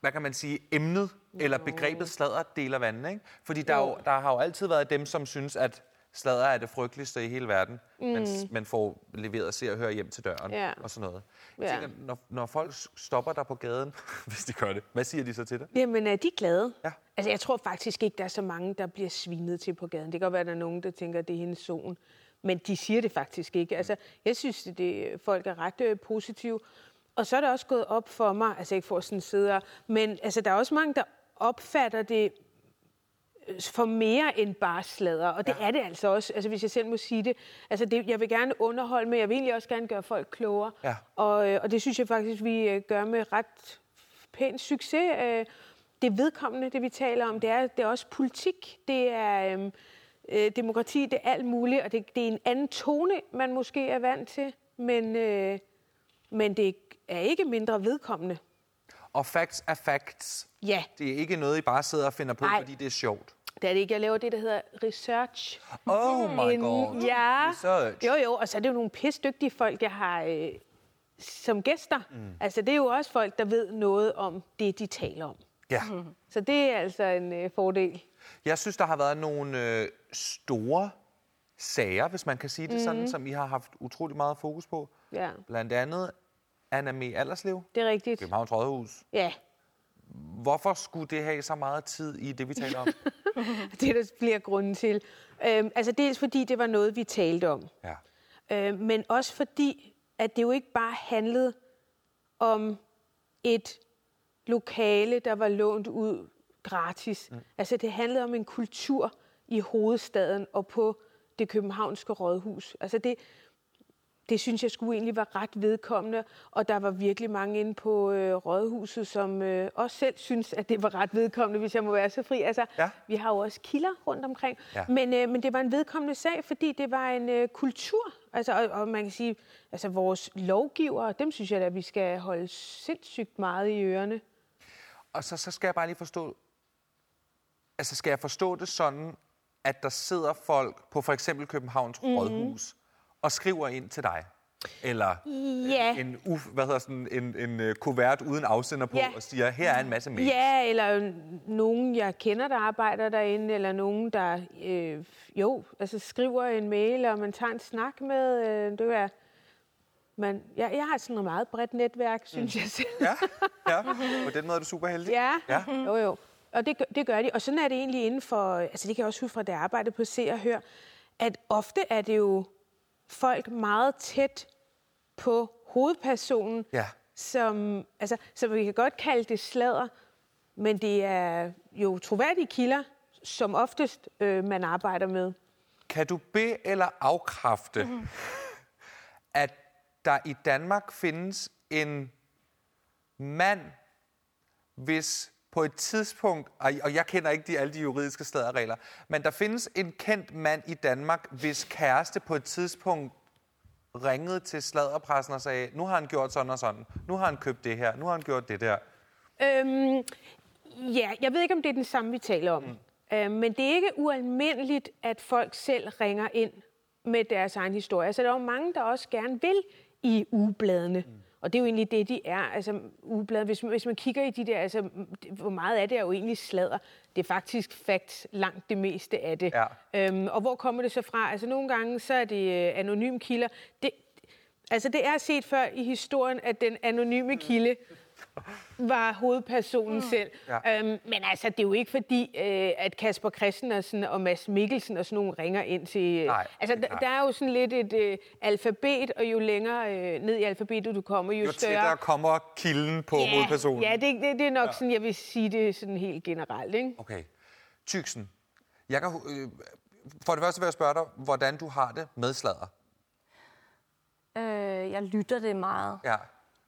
hvad kan man sige, emnet eller begrebet sladder deler vandene. Ikke? Fordi der, er jo, der har jo altid været dem, som synes, at sladder er det frygteligste i hele verden. Mm. Man, man får leveret se og høre hjem til døren
Ja.
og sådan noget. Jeg
Ja.
tænker, når, når folk stopper dig på gaden, hvis de gør det, hvad siger de så til dig?
Jamen, er de glade?
Ja.
Altså, jeg tror faktisk ikke, der er så mange, der bliver svinet til på gaden. Det kan godt være, at der er nogen, der tænker, at det er hendes solen. Men de siger det faktisk ikke. Altså, jeg synes, at det, folk er ret øh, positive. Og så er det også gået op for mig, altså ikke for sådan sidde og- men altså, der er også mange, der opfatter det for mere end bare sladder, og det ja. er det altså også, altså hvis jeg selv må sige det. Altså det, jeg vil gerne underholde, men jeg vil egentlig også gerne gøre folk klogere,
Ja.
og, øh, og det synes jeg faktisk, vi øh, gør med ret pæn succes. Øh, Det vedkommende, det vi taler om, det er, det er også politik, det er øhm, øh, demokrati, det er alt muligt, og det, det er en anden tone, man måske er vant til, men, øh, men det er ikke mindre vedkommende.
Og facts er facts.
Ja,
Det er ikke noget, I bare sidder og finder på,
Nej.
fordi det er sjovt.
det er det ikke. Jeg laver det, der hedder research.
Oh my
En-
god.
Ja.
Research.
Jo, jo, og så er det jo nogle pisdygtige folk, jeg har øh, som gæster. Mm. Altså, det er jo også folk, der ved noget om det, de taler om.
Ja.
Så det er altså en øh, fordel.
Jeg synes, der har været nogle øh, store sager, hvis man kan sige det mm. sådan, som I har haft utrolig meget fokus på.
Mhm. Ja,
Blandt andet Anna Me Alderslev,
det er rigtigt.
Københavns Rådhus.
Ja,
Hvorfor skulle det have så meget tid i det, vi taler om?
det er der flere grunde til. Øhm, altså, dels fordi det var noget, vi talte om.
ja.
Øh, men også fordi, at det jo ikke bare handlede om et lokale, der var lånt ud gratis. Mm. Altså det handlede om en kultur i hovedstaden og på det københavnske rådhus. Altså det, det synes jeg skulle egentlig var ret vedkommende, og der var virkelig mange inde på øh, rådhuset, som øh, også selv synes, at det var ret vedkommende, hvis jeg må være så fri. Altså,
Ja.
vi har jo også kilder rundt omkring,
Ja.
ja. men, øh, men det var en vedkommende sag, fordi det var en øh, kultur, altså, og, og man kan sige, altså vores lovgivere, dem synes jeg da, vi skal holde sindssygt meget i ørerne.
Og så, så skal jeg bare lige forstå... Altså, skal jeg forstå det sådan, at der sidder folk på for eksempel Københavns
Mhm.
mm. Rådhus og skriver ind til dig? Eller
Ja.
en, uf- hvad hedder sådan, en, en øh, kuvert uden afsender på
Ja.
og siger, her er en masse mails.
Ja, eller øh, nogen, jeg kender, der arbejder derinde, eller nogen, der øh, jo, altså skriver en mail, og man tager en snak med. Øh, det er, man, jeg, jeg har sådan et meget bredt netværk, synes mm. jeg selv.
Ja, ja. På den måde er du super heldig.
Ja,
Ja.
ja. jo jo. Og det, gør- det gør de. Og sådan er det egentlig inden for, altså det kan jeg også huske fra, da jeg arbejdede på Se og Hør, at ofte er det jo folk meget tæt på hovedpersonen,
Ja.
som, altså, som vi kan godt kalde det sladder, men det er jo troværdige kilder, som oftest øh, man arbejder med.
Kan du be- eller afkræfte,
Mhm.
mm. at der i Danmark findes en mand, hvis på et tidspunkt, og og jeg kender ikke de, alle de juridiske staderregler, men der findes en kendt mand i Danmark, hvis kæreste på et tidspunkt ringede til sladderpressen og sagde, nu har han gjort sådan og sådan, nu har han købt det her, nu har han gjort det der.
Øhm, ja, jeg ved ikke, om det er den samme, vi taler om. Mm. Øhm, men det er ikke ualmindeligt, at folk selv ringer ind med deres egen historie. Altså, der er jo mange, der også gerne vil i ugebladene. Mm. Og det er jo egentlig det, de er. Altså, ugeblad, hvis, hvis man kigger i de der, altså, m- det- hvor meget af det er jo egentlig sladder. Det er faktisk facts langt det meste af det.
Ja.
Øhm, og hvor kommer det så fra? Altså, nogle gange så er det øh, anonyme kilder. Det, altså, det er set før i historien, at den anonyme
Mm.
kilde var hovedpersonen mm. selv.
Ja.
Ja. Øhm, men altså, det er jo ikke fordi, øh, at Kasper Christensen og Mads Mikkelsen og sådan nogle ringer ind til... Øh,
Nej,
altså,
det er
der,
klart.
der er jo sådan lidt et øh, alfabet, og jo længere øh, ned i alfabetet du kommer, jo,
Jo
større...
tættere kommer kilden på
ja,
hovedpersonen.
Ja, det, det, det er nok ja. sådan, jeg vil sige det sådan helt generelt, ikke?
Okay. Tyksen, jeg kan, hu- øh, for det første vil jeg spørge dig, hvordan du har det med sladder.
Øh, jeg lytter det meget.
Ja,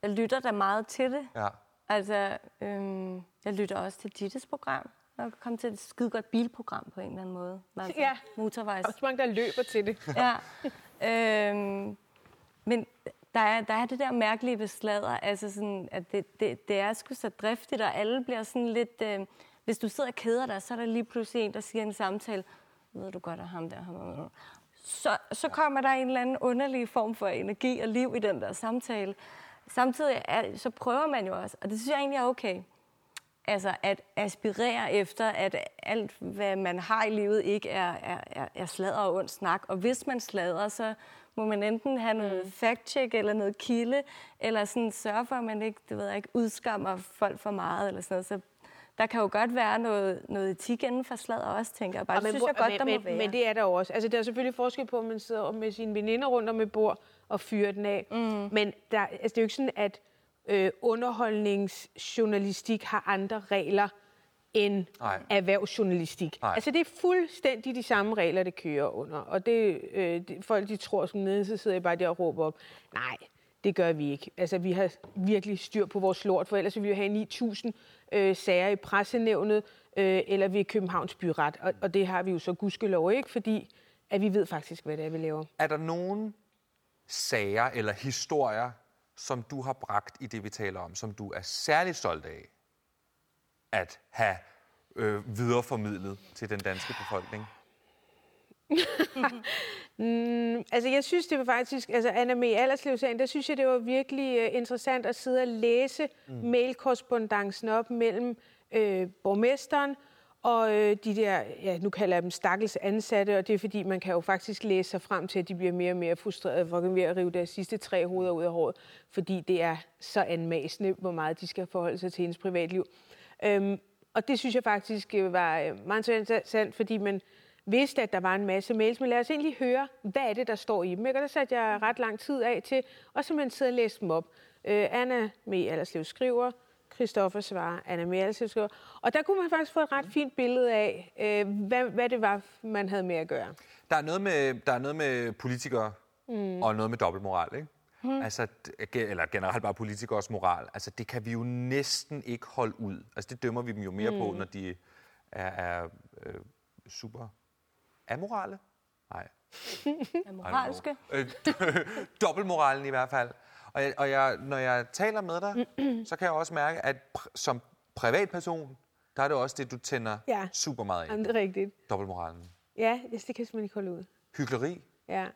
Jeg lytter da meget til det.
ja.
Altså, øhm, jeg lytter også til Dittes program. Jeg kan komme til et skide godt bilprogram på en eller anden måde. Altså,
Ja.
Motorvejs.
Der er også mange, der løber til det.
Ja. Øhm, men der er, der er det der mærkelige ved sladder, altså sådan, at det, det, det er sgu så driftigt, og alle bliver sådan lidt... Øh, hvis du sidder og keder dig, så er der lige pludselig en, der siger i en samtale, ved du godt, at ham der... Ham, der." så, så kommer der en eller anden underlig form for energi og liv i den der samtale, samtidig er, så prøver man jo også, og det synes jeg egentlig er okay, altså at aspirere efter, at alt, hvad man har i livet, ikke er, er, er, er sladder og ond snak. Og hvis man sladrer, så må man enten have noget
Mm.
fact-check eller noget kilde, eller sådan sørge for, at man ikke, det ved jeg ikke udskammer folk for meget, eller sådan noget. Så der kan jo godt være noget, noget etik inden for sladder også, tænker jeg bare.
Ja,
Det synes jeg
hvor-
godt, der må
men,
være.
men det er der jo også. Altså, der er selvfølgelig forskel på, om man sidder med sine veninder rundt om et bord og fyrer den af. Mm. Men der, altså, det er jo ikke sådan, at øh, underholdningsjournalistik har andre regler end
Nej.
erhvervsjournalistik.
Nej.
Altså, det er fuldstændig de samme regler, det kører under. Og det, øh, det folk, de tror sådan nede, så sidder jeg bare der og råber op. Nej, det gør vi ikke. Altså, vi har virkelig styr på vores lort, for ellers ville vi jo have 9.000 øh, sager i pressenævnet, øh, eller ved Københavns Byret. Og, og det har vi jo så gudskelov ikke, fordi at vi ved faktisk, hvad det er, vi laver.
Er der nogen sager eller historier, som du har bragt i det, vi taler om, som du er særlig stolt af at have øh, videreformidlet til den danske befolkning?
Altså, jeg synes, det var faktisk... Altså, Anna Mee allerslev sagen der synes jeg, det var virkelig øh, interessant at sidde og læse mm. mailkorrespondancen op mellem øh, borgmesteren og øh, de der, ja, nu kalder jeg dem stakkels ansatte, og det er fordi, man kan jo faktisk læse sig frem til, at de bliver mere og mere frustrerede for ved at rive deres sidste tre hoveder ud af håret, fordi det er så anmasende, hvor meget de skal forholde sig til hendes privatliv. Øhm, og det synes jeg faktisk øh, var øh, meget interessant, fordi man vidste, at der var en masse mails. Men lad os egentlig høre, hvad er det, der står i dem? Ikke? Og der satte jeg ret lang tid af til, og så man sidder og læste dem op. Øh, Anna med Allerslev skriver, Christoffer svarer, Anna med Allerslev skriver. Og der kunne man faktisk få et ret fint billede af, øh, hvad, hvad det var, man havde med at gøre.
Der er noget med, der er noget med politikere mm. og noget med dobbeltmoral, ikke? Mm. Altså, d- ge- eller generelt bare politikers moral. Altså, det kan vi jo næsten ikke holde ud. Altså, det dømmer vi dem jo mere mm. på, når de er, er øh, super amorale. Nej,
er moralske.
Øh, Dobbeltmoralen i hvert fald. Og, jeg, og jeg, når jeg taler med dig, så kan jeg også mærke, at pr- som privatperson, der er det også det, du tænder
Ja.
super meget af.
Jamen, det er rigtigt.
Dobbeltmoralen.
Ja, yes, det kan jeg simpelthen ikke holde ud.
Hykleri,
Ja.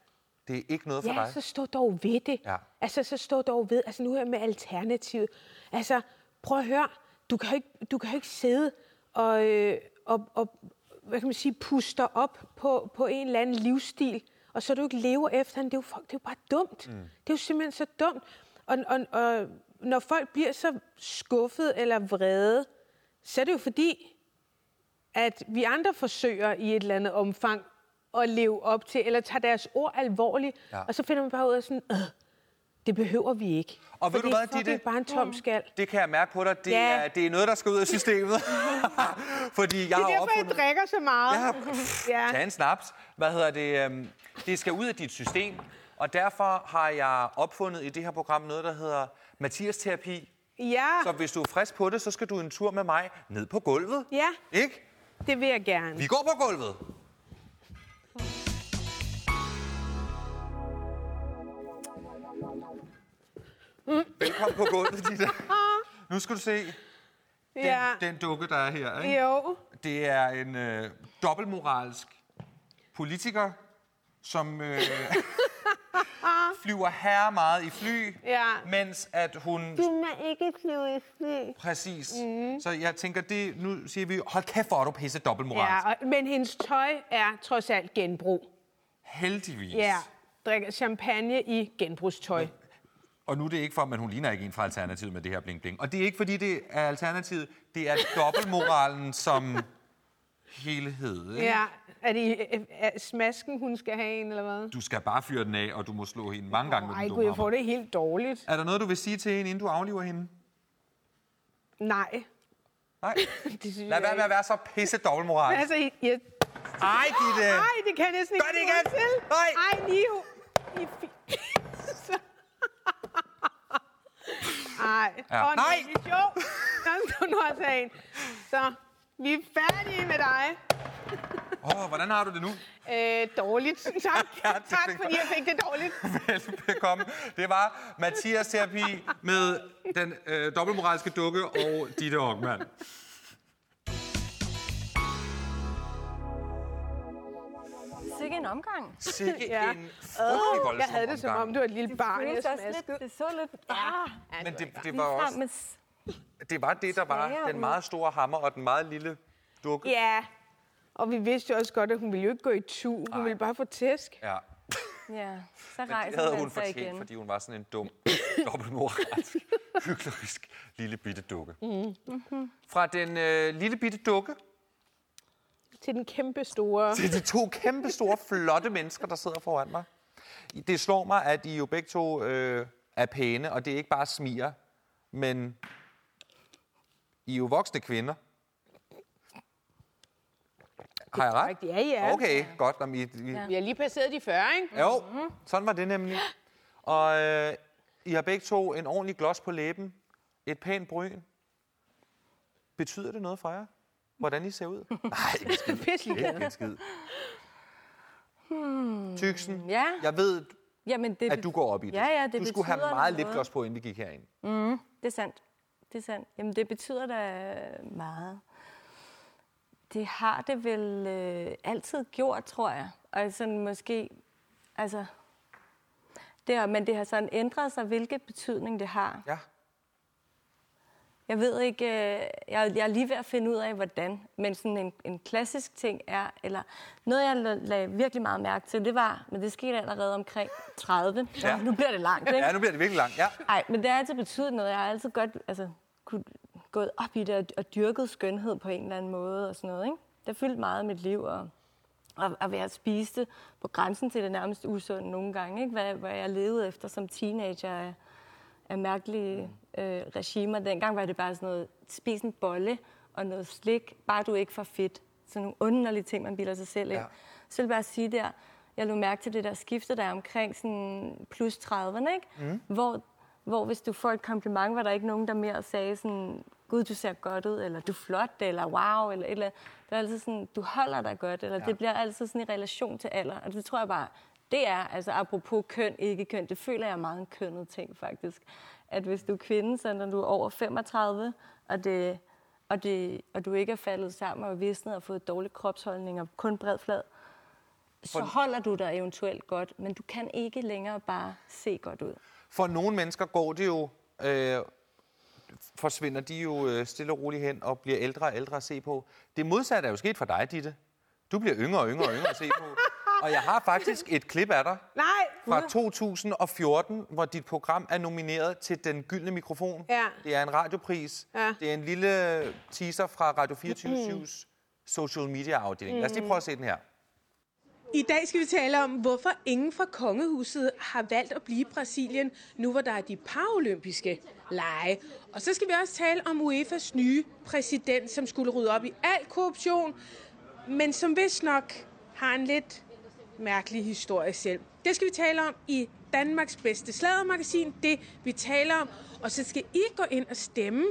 det er ikke noget for
Ja,
dig.
så stå dog ved det.
Ja.
Altså, så stå dog ved. Altså, nu er jeg med alternativet. Altså, prøv at høre. Du kan jo ikke, du kan jo ikke sidde og, øh, og, og, hvad kan man sige, puster op på, på en eller anden livsstil, og så du ikke lever efter den. Det er jo, fuck, det er jo bare dumt. Mm. Det er jo simpelthen så dumt. Og, og, og når folk bliver så skuffet eller vrede, så er det jo fordi, at vi andre forsøger i et eller andet omfang at leve op til, eller tager deres ord alvorligt,
Ja.
ja. og så finder man bare ud af sådan, "Øh, det behøver vi ikke.
Og ved
For
du
det er
hvad,
fucking
Ditte?
bare en tom skal.
Det kan jeg mærke på dig. Det,
Ja.
er, det er noget, der skal ud af systemet. Fordi jeg
Det er
har
derfor, jeg
opfundet...
drikker så meget.
Ja,
Ja.
tag en snaps. Hvad hedder det? øhm, Det skal ud af dit system. Og derfor har jeg opfundet i det her program noget, der hedder Mathias-terapi.
ja.
Så hvis du er frisk på det, så skal du en tur med mig ned på gulvet.
ja,
Ikke?
det vil jeg gerne.
Vi går på gulvet.
Mm.
Velkommen på gulvet, Ditte.
Ah.
Nu skal du se den,
ja.
den dukke, der er her. Ikke?
Jo.
Det er en øh, dobbeltmoralsk politiker, som øh, flyver her meget i fly,
Ja.
mens at hun
Du må ikke flyve i fly. Mhm.
Præcis. Mm. Så jeg tænker, det, nu siger vi, hold kæft, hvor er du pisse dobbeltmoral. Ja.
Ja, og, men hendes tøj er trods alt genbrug.
Heldigvis.
Ja, drikker champagne i genbrugstøj.
Og nu er det ikke for, men hun ligner ikke en fra Alternativet med det her bling bling. Og det er ikke, fordi det er Alternativet, det er dobbeltmoralen som helhed. ikke?
Ja, er det er smasken, hun skal have en, eller hvad?
Du skal bare fyre den af, og du må slå hende mange gange med
Nej,
den
gud,
dumme
jeg
hammer.
får det helt dårligt.
Er der noget, du vil sige til hende, inden du afliver hende?
Nej,
Nej.
det synes
Lad
jeg
være med
ikke.
at være så pisse dobbeltmoral.
Altså, jeg...
Ej, Gitte!
Nej, det kan jeg næsten ikke.
øh, Gør det
holde
igen!
til.
Nej!
Ej, Niho! I er fi- Så- Ej.
Ja.
Åh,
Nej!
Jo, kom du nu også af en. Så, vi er færdige med dig.
Åh, oh, hvordan har du det nu?
Øh, dårligt, tak.
Ja, det
tak,
fik-
fordi jeg fik det dårligt.
Velbekomme. Det var Mathias Terapi med den øh, dobbeltmoralske dukke og Ditte Aukmann.
Så Sikke en omgang.
Sikke ja.
Ja.
en frygtelig voldsom
Jeg havde det som om,
omgang.
du var et lille barn, jeg
føles også lidt,
smaskede.
det så lidt ah,
Men det, det, var
ligefrem
også,
med s-
det var det, der var
Smager
den
ud.
meget store hammer og den meget lille dukke.
Ja. Og vi vidste jo også godt, at hun ville jo ikke gå i tu. Hun
Ej.
ville bare få tæsk.
Ja.
Ja, så
Men det
rejser
havde
den
hun
sig
fortjent,
igen.
fordi hun var sådan en dum, dobbeltmoralsk, hyklerisk lille bitte dukke. Mm. Fra den øh, lille bitte dukke
Til den kæmpe store.
til de to kæmpe store, flotte mennesker, der sidder foran mig. Det slår mig, at I jo begge to øh, er pæne, og det er ikke bare smiger, men I er jo voksne kvinder. Har jeg ret?
Ja, ja.
Okay, godt. Om I, I, ja.
Vi har lige passeret de 40, ikke?
Jo, sådan var det nemlig. Og øh, I har begge to en ordentlig gloss på læben, et pænt bryn. Betyder det noget for jer? Hvordan I ser ud? Nej, ikke en skid.
Pisselig
Ikke en skid. Tyksen,
Hmm, Ja,
jeg ved,
jamen det,
at du går op i det.
Ja, ja, det
du skulle have
betyder
meget
noget.
lipgloss på, inden vi gik herind.
det er sandt. Det er sandt. Jamen det betyder da meget. Det har det vel øh, altid gjort, tror jeg. Og sådan måske, altså, det har, men det har sådan ændret sig, hvilket betydning det har.
Ja.
Jeg ved ikke, øh, jeg, jeg er lige ved at finde ud af, hvordan, men sådan en, en klassisk ting er, eller noget, jeg la- lagde virkelig meget mærke til, det var, men det skete allerede omkring 30.
Ja.
Ja. Nu bliver det langt, ikke?
ja, nu bliver det virkelig langt. Ja.
Nej, men det har altid betydet noget. Jeg har altid godt altså, kunne, gået op i det og, og dyrket skønhed på en eller anden måde og sådan noget. Ikke? Det har fyldt meget af mit liv, og, og, og ved at spise det på grænsen til det nærmest usunde nogle gange. Ikke? Hvad, hvad jeg levede efter som teenager af, af mærkelige øh, regimer. Dengang var det bare sådan noget, spis en bolle og noget slik, bare du ikke får fedt. Sådan nogle underlige ting, man bilder sig selv ind.
Ja.
Ja. Så vil jeg bare sige der, jeg lå mærke til det der skifte, der er omkring sådan plus 30'erne, ikke? Mm. Hvor, hvor hvis du får et kompliment, var der ikke nogen, der mere sagde sådan, gud, du ser godt ud, eller du er flot, eller wow, eller et eller andet. Det var altid sådan, du holder dig godt, eller ja. det bliver altid sådan i relation til alder. Og det tror jeg bare, det er, altså apropos køn, ikke køn, det føler jeg er meget en kønnet ting faktisk. At hvis du er kvinde, så når du er over 35, og det og, det, og du ikke er faldet sammen og er visnet og fået dårlig kropsholdning og kun bred flad, så holder du dig eventuelt godt, men du kan ikke længere bare se godt ud.
For nogle mennesker går det jo... Øh, forsvinder de jo øh, stille og roligt hen og bliver ældre og ældre at se på. Det modsatte er jo sket for dig, Ditte. Du bliver yngre og yngre og yngre at se på. Og jeg har faktisk et klip af dig
Nej.
fra 2014, hvor dit program er nomineret til Den Gyldne Mikrofon.
Ja.
Det er en radiopris.
Ja.
Det er en lille teaser fra Radio 24-7's social media afdeling. Lad os lige prøve at se den her.
I dag skal vi tale om, hvorfor ingen fra kongehuset har valgt at blive i Brasilien, nu hvor der er de paralympiske lege. Og så skal vi også tale om UEFA's nye præsident, som skulle rydde op i al korruption, men som vist nok har en lidt mærkelig historie selv. Det skal vi tale om i Danmarks bedste sladdermagasin, det vi taler om. Og så skal I gå ind og stemme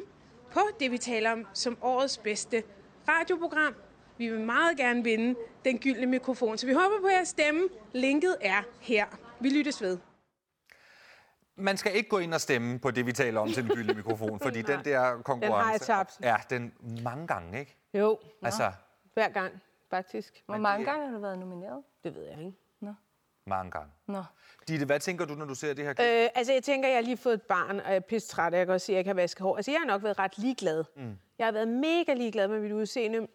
på det, vi taler om som årets bedste radioprogram. Vi vil meget gerne vinde den gyldne mikrofon, så vi håber på jeres stemme. Linket er her. Vi lyttes ved.
man skal ikke gå ind og stemme på det, vi taler om til den gyldne mikrofon, fordi den der konkurrence...
Den har jeg tabt.
Ja, den mange gange, ikke?
Jo,
Altså,
hver gang, faktisk.
Hvor mange gange har du været nomineret?
Det ved jeg ikke.
mange gange.
Nå.
Ditte, hvad tænker du, når du ser det her klip?
Øh, altså, jeg tænker, jeg har lige fået et barn, og jeg er pisse træt, og jeg kan også se, at jeg kan vaske hår. Altså, jeg har nok været ret ligeglad. Mm. Jeg har været mega ligeglad med mit udseende,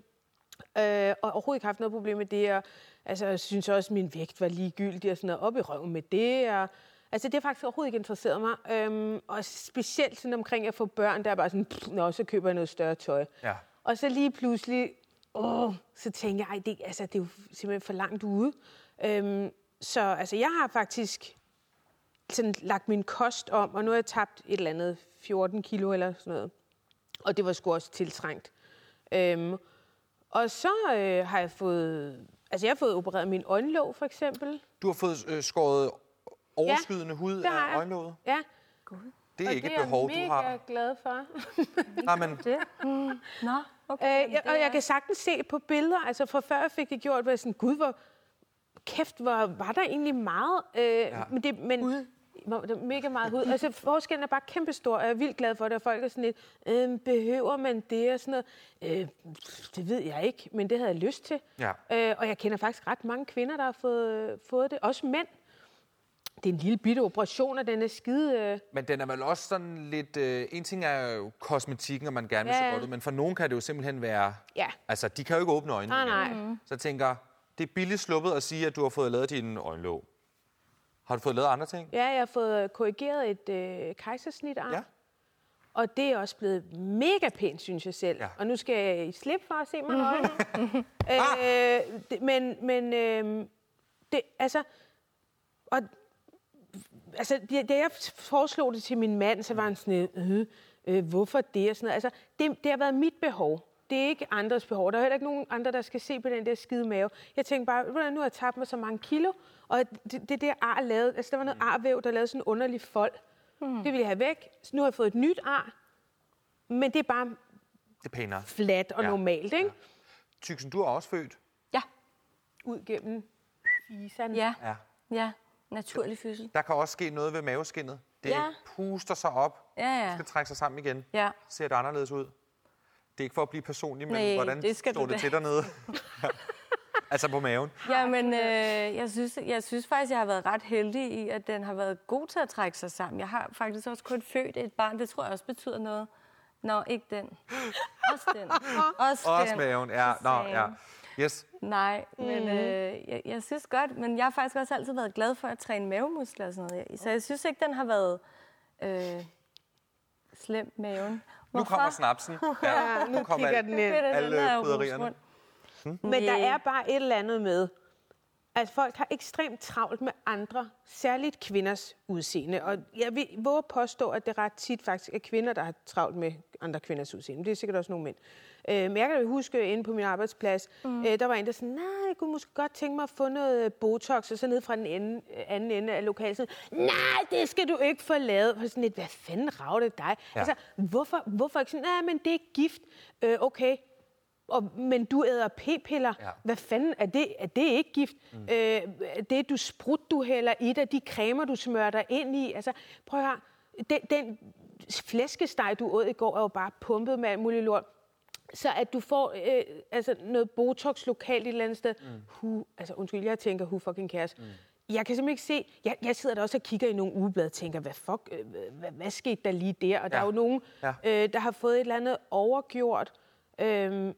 øh, og overhovedet ikke haft noget problem med det. Og, altså, jeg synes også, at min vægt var ligegyldig, og sådan noget op i røven med det. Og, altså, det har faktisk overhovedet ikke interesseret mig. Øhm, og specielt sådan omkring at få børn, der er bare sådan, pff, nå, så køber jeg noget større tøj.
Ja.
Og så lige pludselig, åh, så tænker jeg, ej, det, altså, det er jo simpelthen for langt ude. Øhm, så altså, jeg har faktisk sådan lagt min kost om, og nu har jeg tabt et eller andet 14 kilo eller sådan noget. Og det var sgu også tiltrængt. Øhm, og så øh, har jeg fået... Altså, jeg har fået opereret min øjenlåg, for eksempel.
Du har fået øh, skåret overskydende ja, hud
det har
af
jeg.
øjenlåget.
Ja,
Det er
og
ikke
det
et behov,
er
du
jeg
har.
mega glad for.
Nej, men
Det? Mm. Nå, okay.
Øh, jeg, og jeg kan sagtens se på billeder, altså fra før jeg fik det gjort, var jeg sådan, gud, hvor kæft, hvor var der egentlig meget. Øh, ja. Men, det, men hvor der er mega meget hud. Altså, forskellen er bare kæmpestor, og jeg er vildt glad for det, og folk er sådan lidt, øh, behøver man det og sådan noget? Øh, det ved jeg ikke, men det havde jeg lyst til.
Ja.
Øh, og jeg kender faktisk ret mange kvinder, der har fået, øh, fået det, også mænd. Det er en lille bitte operation, og den er skide... Øh,
Men den er vel også sådan lidt... Øh, en ting er jo kosmetikken, og man gerne vil
Ja,
se
ja.
godt ud, men for nogen kan det jo simpelthen være...
Ja.
Altså, de kan jo ikke åbne øjnene.
Nej,
igen.
nej. Mhm.
Så jeg tænker, det er billigt sluppet at sige, at du har fået lavet din øjenlåg. Har du fået lavet andre ting?
Ja, jeg har fået øh, korrigeret et øh, kejsersnitarm.
Ja.
Ja. Og det er også blevet mega pænt, synes jeg selv.
Ja.
Ja. Og nu skal jeg i slip for at se mig i øjnene. øh, det- men men øh, det, altså, og, altså, da da jeg foreslog det til min mand, så var han sådan, øh, øh, hvorfor det og sådan noget. Altså, det, det har været mit behov. Det er ikke andres behov. Der er heller ikke nogen andre, der skal se på den der skide mave. Jeg tænkte bare, ved du hvad, nu har jeg tabt mig så mange kilo, og det, det der ar lavede, altså der var noget arvæv, der lavede sådan en underlig fold. Mm. Det ville jeg have væk. Så nu har jeg fået et nyt ar, men det er bare
Det er pænere.
fladt og
Ja.
ja. normalt, ikke?
Tyksen, du er også født.
Ja,
Ud gennem fiserne.
ja,
Ja.
ja. Naturlig fødsel.
Der kan også ske noget ved maveskindet. Det
Ja.
puster sig op,
Ja, ja.
skal trække sig sammen igen.
Ja.
Ser det anderledes ud? Det er ikke for at blive personlig, men
Nej,
hvordan
det skal
står det
du da.
til dernede? Ja. altså på maven.
Jamen, øh, jeg, synes, jeg synes faktisk, jeg har været ret heldig i, at den har været god til at trække sig sammen. Jeg har faktisk også kun født et barn. Det tror jeg også betyder noget. Nå, ikke den. Også den. Også,
Også
den.
maven, ja.
For
Nå,
sagen.
ja. Yes.
Nej, men øh, jeg, jeg synes godt, men jeg har faktisk også altid været glad for at træne mavemuskler og sådan noget. Så jeg synes ikke, den har været øh, slem, maven.
Nu kommer snapsen. Ja, nu kommer
kigger
alt-
den ind.
alle krydderierne.
Men der
Næ.
er bare et eller andet med, at folk har ekstremt travlt med andre, særligt kvinders udseende. Og jeg vil våge at påstå, at det ret tit faktisk er kvinder, der har travlt med andre kvinders udseende. Det er sikkert også nogle mænd. Øh, men jeg kan jo huske, inde på min arbejdsplads, mm. øh, der var en, der sådan, nej, jeg kunne måske godt tænke mig at få noget øh, Botox, og så ned fra den ende, øh, anden ende af lokalet, sådan, nej, det skal du ikke få lavet. Og sådan lidt, hvad fanden rager det dig? Ja. Altså, hvorfor, hvorfor ikke sådan, nej, men det er gift. Øh, okay, og, men du æder p-piller.
Ja.
Ja. Hvad fanden er det? Er det ikke gift? Mm. Øh, det du sprut, du hælder i dig, de cremer, du smører dig ind i. Altså, prøv at høre. Den, den flæskesteg, du åd i går, er jo bare pumpet med alt muligt lort. Så at du får øh, altså noget botox lokalt et eller andet sted. Mm. Who, altså undskyld, jeg tænker, who fucking cares? Mm. Jeg kan simpelthen ikke se, jeg, jeg sidder der også og kigger i nogle ugeblade og tænker, hvad fuck, øh, hvad, hvad skete der lige der? Og ja. der
Ja.
er jo nogen,
Ja.
ja. øh, der har fået et eller andet overgjort. Øhm,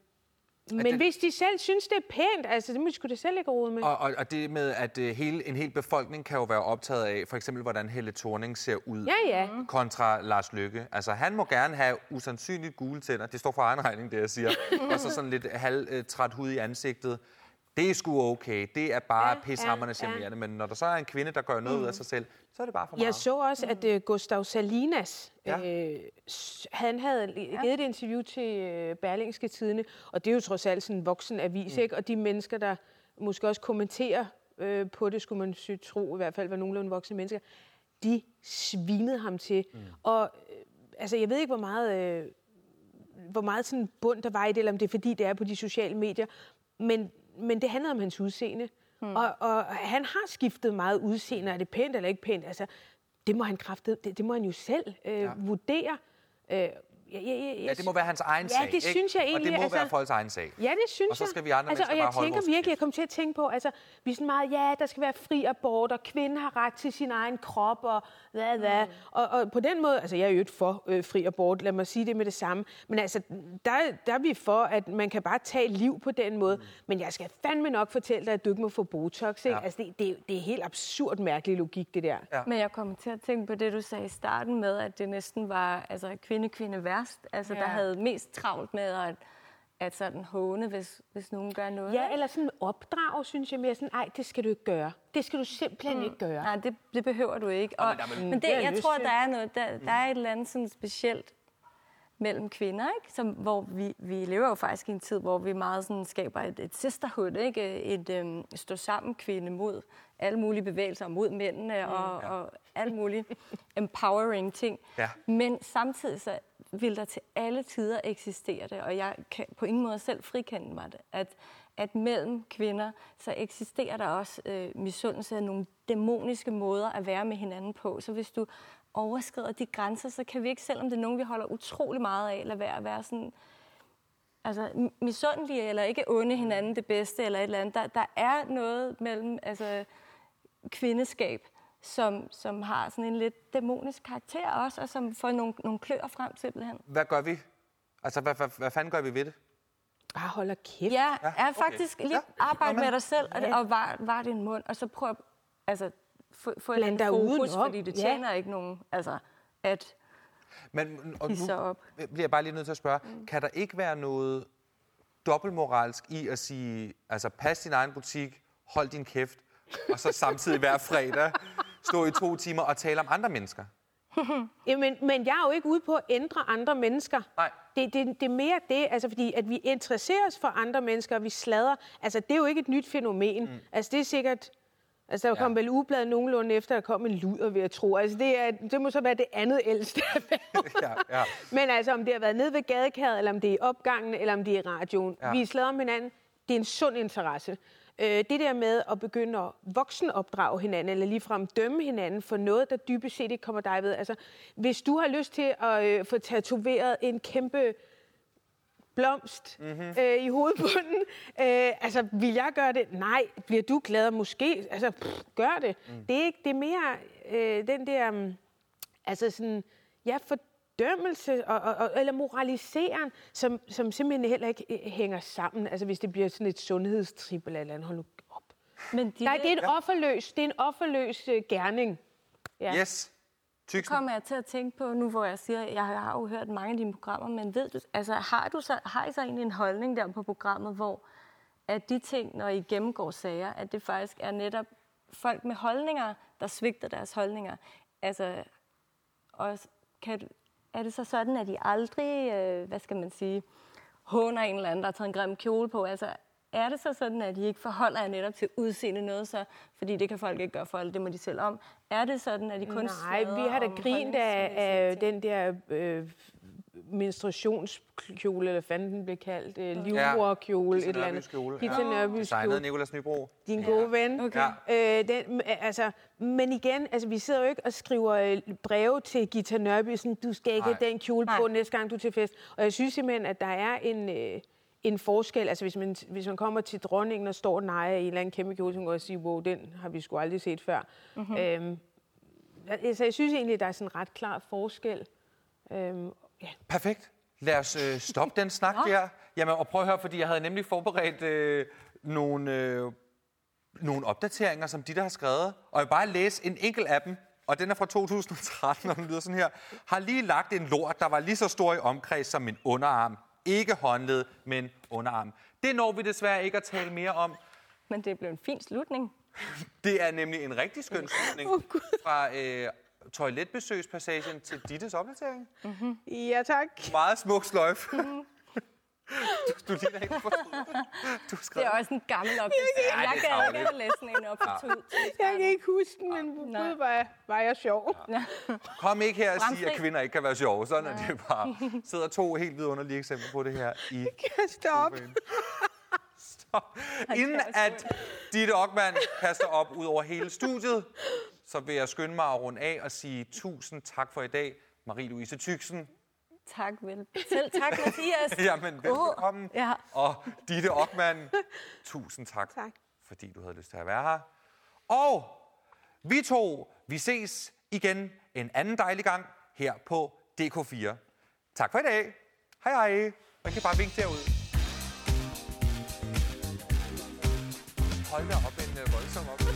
men
den-
den... hvis de selv synes, det er pænt, altså, det må de sgu da selv ikke rode med. Og...
Og, og, og det med, at øh, hele, en hel befolkning kan jo være optaget af, for eksempel, hvordan Helle Thorning ser ud.
Ja, ja. Mhm.
Kontra Lars Lykke. Altså, han må gerne have usandsynligt gule tænder. Det står for egen regning, det jeg siger. og så sådan lidt halvtræt hud i ansigtet. Det er sgu okay. Det er bare ja,
Ja,
pishammerne
ja, Mm.
ja, ja. Men når der så er en kvinde, der gør noget ud af sig selv, så er det bare for meget.
Jeg så også, at uh, Gustav Salinas,
Ja.
ja. øh, s- han havde l- givet et interview til øh, Berlingske Tidene, og det er jo trods alt sådan en voksen avis, mm. ikke? Og de mennesker, der måske også kommenterer øh, på det, skulle man sy- tro, i hvert fald var nogenlunde voksne mennesker, de svinede ham til. Mm. Og øh, altså, jeg ved ikke, hvor meget... Øh, hvor meget sådan bund der var i det, eller om det er fordi, det er på de sociale medier. Men, men det handler om hans udseende. Mm. Og, og han har skiftet meget udseende. Er det pænt eller ikke pænt? Altså, det må han, kræfte, det, det må han jo selv øh, ja. vurdere. Øh, ja, ja, ja,
Ja, det må være hans egen
Ja,
sag.
det synes jeg
ikke? Og det
egentlig,
må være
altså-
folks egen sag.
Ja, det synes jeg.
Og så skal vi andre
altså,
mennesker
Og jeg
bare holde
tænker
vores
virkelig,
kæft.
jeg kom til at tænke på, altså, vi er sådan meget, ja, der skal være fri abort, og kvinden har ret til sin egen krop, og hvad, hvad. Mm. Og, og på den måde, altså, jeg er jo ikke for øh, fri abort, lad mig sige det med det samme, men altså, der, der er vi for, at man kan bare tage et liv på den måde, mm. men jeg skal fandme nok fortælle dig, at du ikke må få Botox, ikke?
Ja.
Ja. Altså, det, det, det er helt absurd mærkelig logik, det der.
Ja.
Men jeg kommer til at tænke på det, du sagde i starten med, at det næsten var altså, kvinde-kvinde værst. Altså, ja. der
Ja.
havde mest travlt med at, at sådan håne, hvis, hvis nogen gør noget.
Ja, eller sådan opdrag, synes jeg mere sådan, ej, det skal du ikke gøre. Det skal du simpelthen mm. ikke gøre.
Nej, det, det behøver du ikke. Og, men det,
Det har jeg
jeg
lyst
tror,
til. Mm.
der er, noget, der, der er et eller andet sådan specielt mellem kvinder, ikke? Som, hvor vi, vi lever jo faktisk i en tid, hvor vi meget sådan skaber et, et sisterhood, ikke? et øhm, stå sammen kvinde mod alle mulige bevægelser, mod
Mm,
mændene og, ja. og alle mulige empowering ting.
Ja.
Men samtidig så vil der til alle tider eksistere det, og jeg kan på ingen måde selv frikende mig det, at, at mellem kvinder, så eksisterer der også øh, misundelse af nogle dæmoniske måder at være med hinanden på. Så hvis du overskrider de grænser, så kan vi ikke, selvom det er nogen, vi holder utrolig meget af, lade være at være sådan, altså, misundelige eller ikke onde hinanden det bedste eller et eller andet. Der, der er noget mellem altså, kvindeskab, som, som har sådan en lidt dæmonisk karakter også, og som får nogle, nogle klør frem simpelthen.
Hvad gør vi? Altså, hvad, hvad, hvad fanden gør vi ved det?
Bare holder kæft.
Ja, ja er
okay.
faktisk
Ja.
lige ja. arbejde
Jamen.
med dig selv, og, og var, var din mund, og så prøv at altså, få, få et eller andet
dig
fokus,
udenom.
fordi det
Ja.
tjener ikke nogen, altså, at
Men og
Hisse
nu
op.
bliver jeg bare lige nødt til at spørge, mm. kan der ikke være noget dobbeltmoralsk i at sige, altså pas din egen butik, hold din kæft, og så samtidig hver fredag stå i to timer og tale om andre mennesker?
Jamen, men jeg er jo ikke ude på at ændre andre mennesker.
Nej.
Det, det, det er mere det, altså fordi at vi interesserer os for andre mennesker, og vi slader. Altså, det er jo ikke et nyt fænomen. Mm. Altså, det er sikkert... Altså, der kom vel ublad nogenlunde efter, der kom en luder, ved at tro. Altså, det, er, det må så være det andet ældste erhverv.
Ja, ja.
Men altså, om det har været nede ved gadekæret, eller om det er i opgangen, eller om det er i radioen.
Ja.
Ja. Vi slader om hinanden. Det er en sund interesse. Øh, det der med at begynde at voksenopdrage hinanden, eller ligefrem dømme hinanden for noget, der dybest set ikke kommer dig ved. Altså, hvis du har lyst til at øh, få tatoveret en kæmpe blomst mm-hmm. øh, i hovedbunden. Øh, altså, vil jeg gøre det? Nej. Bliver du glad? Måske. Altså, pff, gør det. Mm. Det er ikke, det er mere øh, den der, mm, altså sådan, ja, fordømmelse og, og, og, eller moraliseren, som, som simpelthen heller ikke øh, hænger sammen. Altså, hvis det bliver sådan et sundhedstrip eller et eller andet. Hold nu op.
men de
Nej, det er en offerløs, det er en offerløs øh, gerning. Ja.
Yes. Tyksen.
kommer jeg til at tænke på, nu hvor jeg siger, jeg har jo hørt mange af dine programmer, men ved du, altså, har, du så, har I så egentlig en holdning der på programmet, hvor at de ting, når I gennemgår sager, at det faktisk er netop folk med holdninger, der svigter deres holdninger? Altså, og kan, er det så sådan, at I aldrig, øh, hvad skal man sige, håner en eller anden, der har taget en grim kjole på? Altså, er det så sådan, at I ikke forholder jer netop til udseende noget så, fordi det kan folk ikke gøre for alle, det må de selv om. Er det sådan, at I kun
Nej, vi har da grint af, af den der øh, menstruationskjole, eller hvad fanden den blev kaldt, øh, livmorkjole,
Ghita
et eller andet.
Nørbys kjole, ja.
Gita Nørbys
Designet
kjole.
Nikolas Nybro.
Din gode ven.
Okay.
Øh, den, m- altså, men igen, altså, vi sidder jo ikke og skriver øh, breve til Gita Nørby, sådan, du skal ikke
Nej.
have den kjole på
Nej.
næste gang, du er til fest. Og jeg synes simpelthen, at der er en, øh, en forskel. Altså, hvis man, hvis man kommer til dronningen og står og nejer i en eller anden kæmpe kjole, så kan man godt sige, wow, den har vi sgu aldrig set før. Mm-hmm. Øhm, altså, jeg synes egentlig, at der er sådan en ret klar forskel. Øhm, ja.
Perfekt. Lad os øh, stoppe den snak der. Jamen, og prøv at høre, fordi jeg havde nemlig forberedt øh, nogle, øh, nogle opdateringer, som de, der har skrevet. Og jeg vil bare læse en enkelt af dem, og den er fra 2013, og den lyder sådan her. Har lige lagt en lort, der var lige så stor i omkreds som min underarm. Ikke håndled, men underarm. Det når vi desværre ikke at tale mere om.
Men det blev en fin slutning.
Det er nemlig en rigtig skøn slutning oh, fra øh, toiletbesøgspassagen til Dittes opdatering.
ja, tak.
Meget smuk sløjf. du, du ligner ikke forstået. Du har
Det
skrevet
er også en gammel opdatering.
Ja,
Jeg
det er
gad
tarveligt.
ikke at læse sådan en op for to.
Jeg kan ikke huske den, men
Nej.
gud, var, var jeg sjov.
Kom ikke her og sig, at
Bramfri.
kvinder ikke kan være sjove. Sådan er det bare. Sidder to helt vidunderlige eksempler på det her i
Stop.
sofaen. Stop. Inden at Ditte Ockmann kaster op ud over hele studiet, så vil jeg skynde mig at runde af og sige tusind tak for i dag. Marie-Louise Tyksen,
Tak, vel. Selv tak, Mathias.
jamen velkommen.
Åh, ja.
Og Ditte Ockmann, tusind tak,
Tak.
fordi du havde lyst til at være her. Og vi to, vi ses igen en anden dejlig gang her på DK4. Tak for i dag. Hej hej. Man kan bare vinke derud. Hold da op en øh, voldsom op.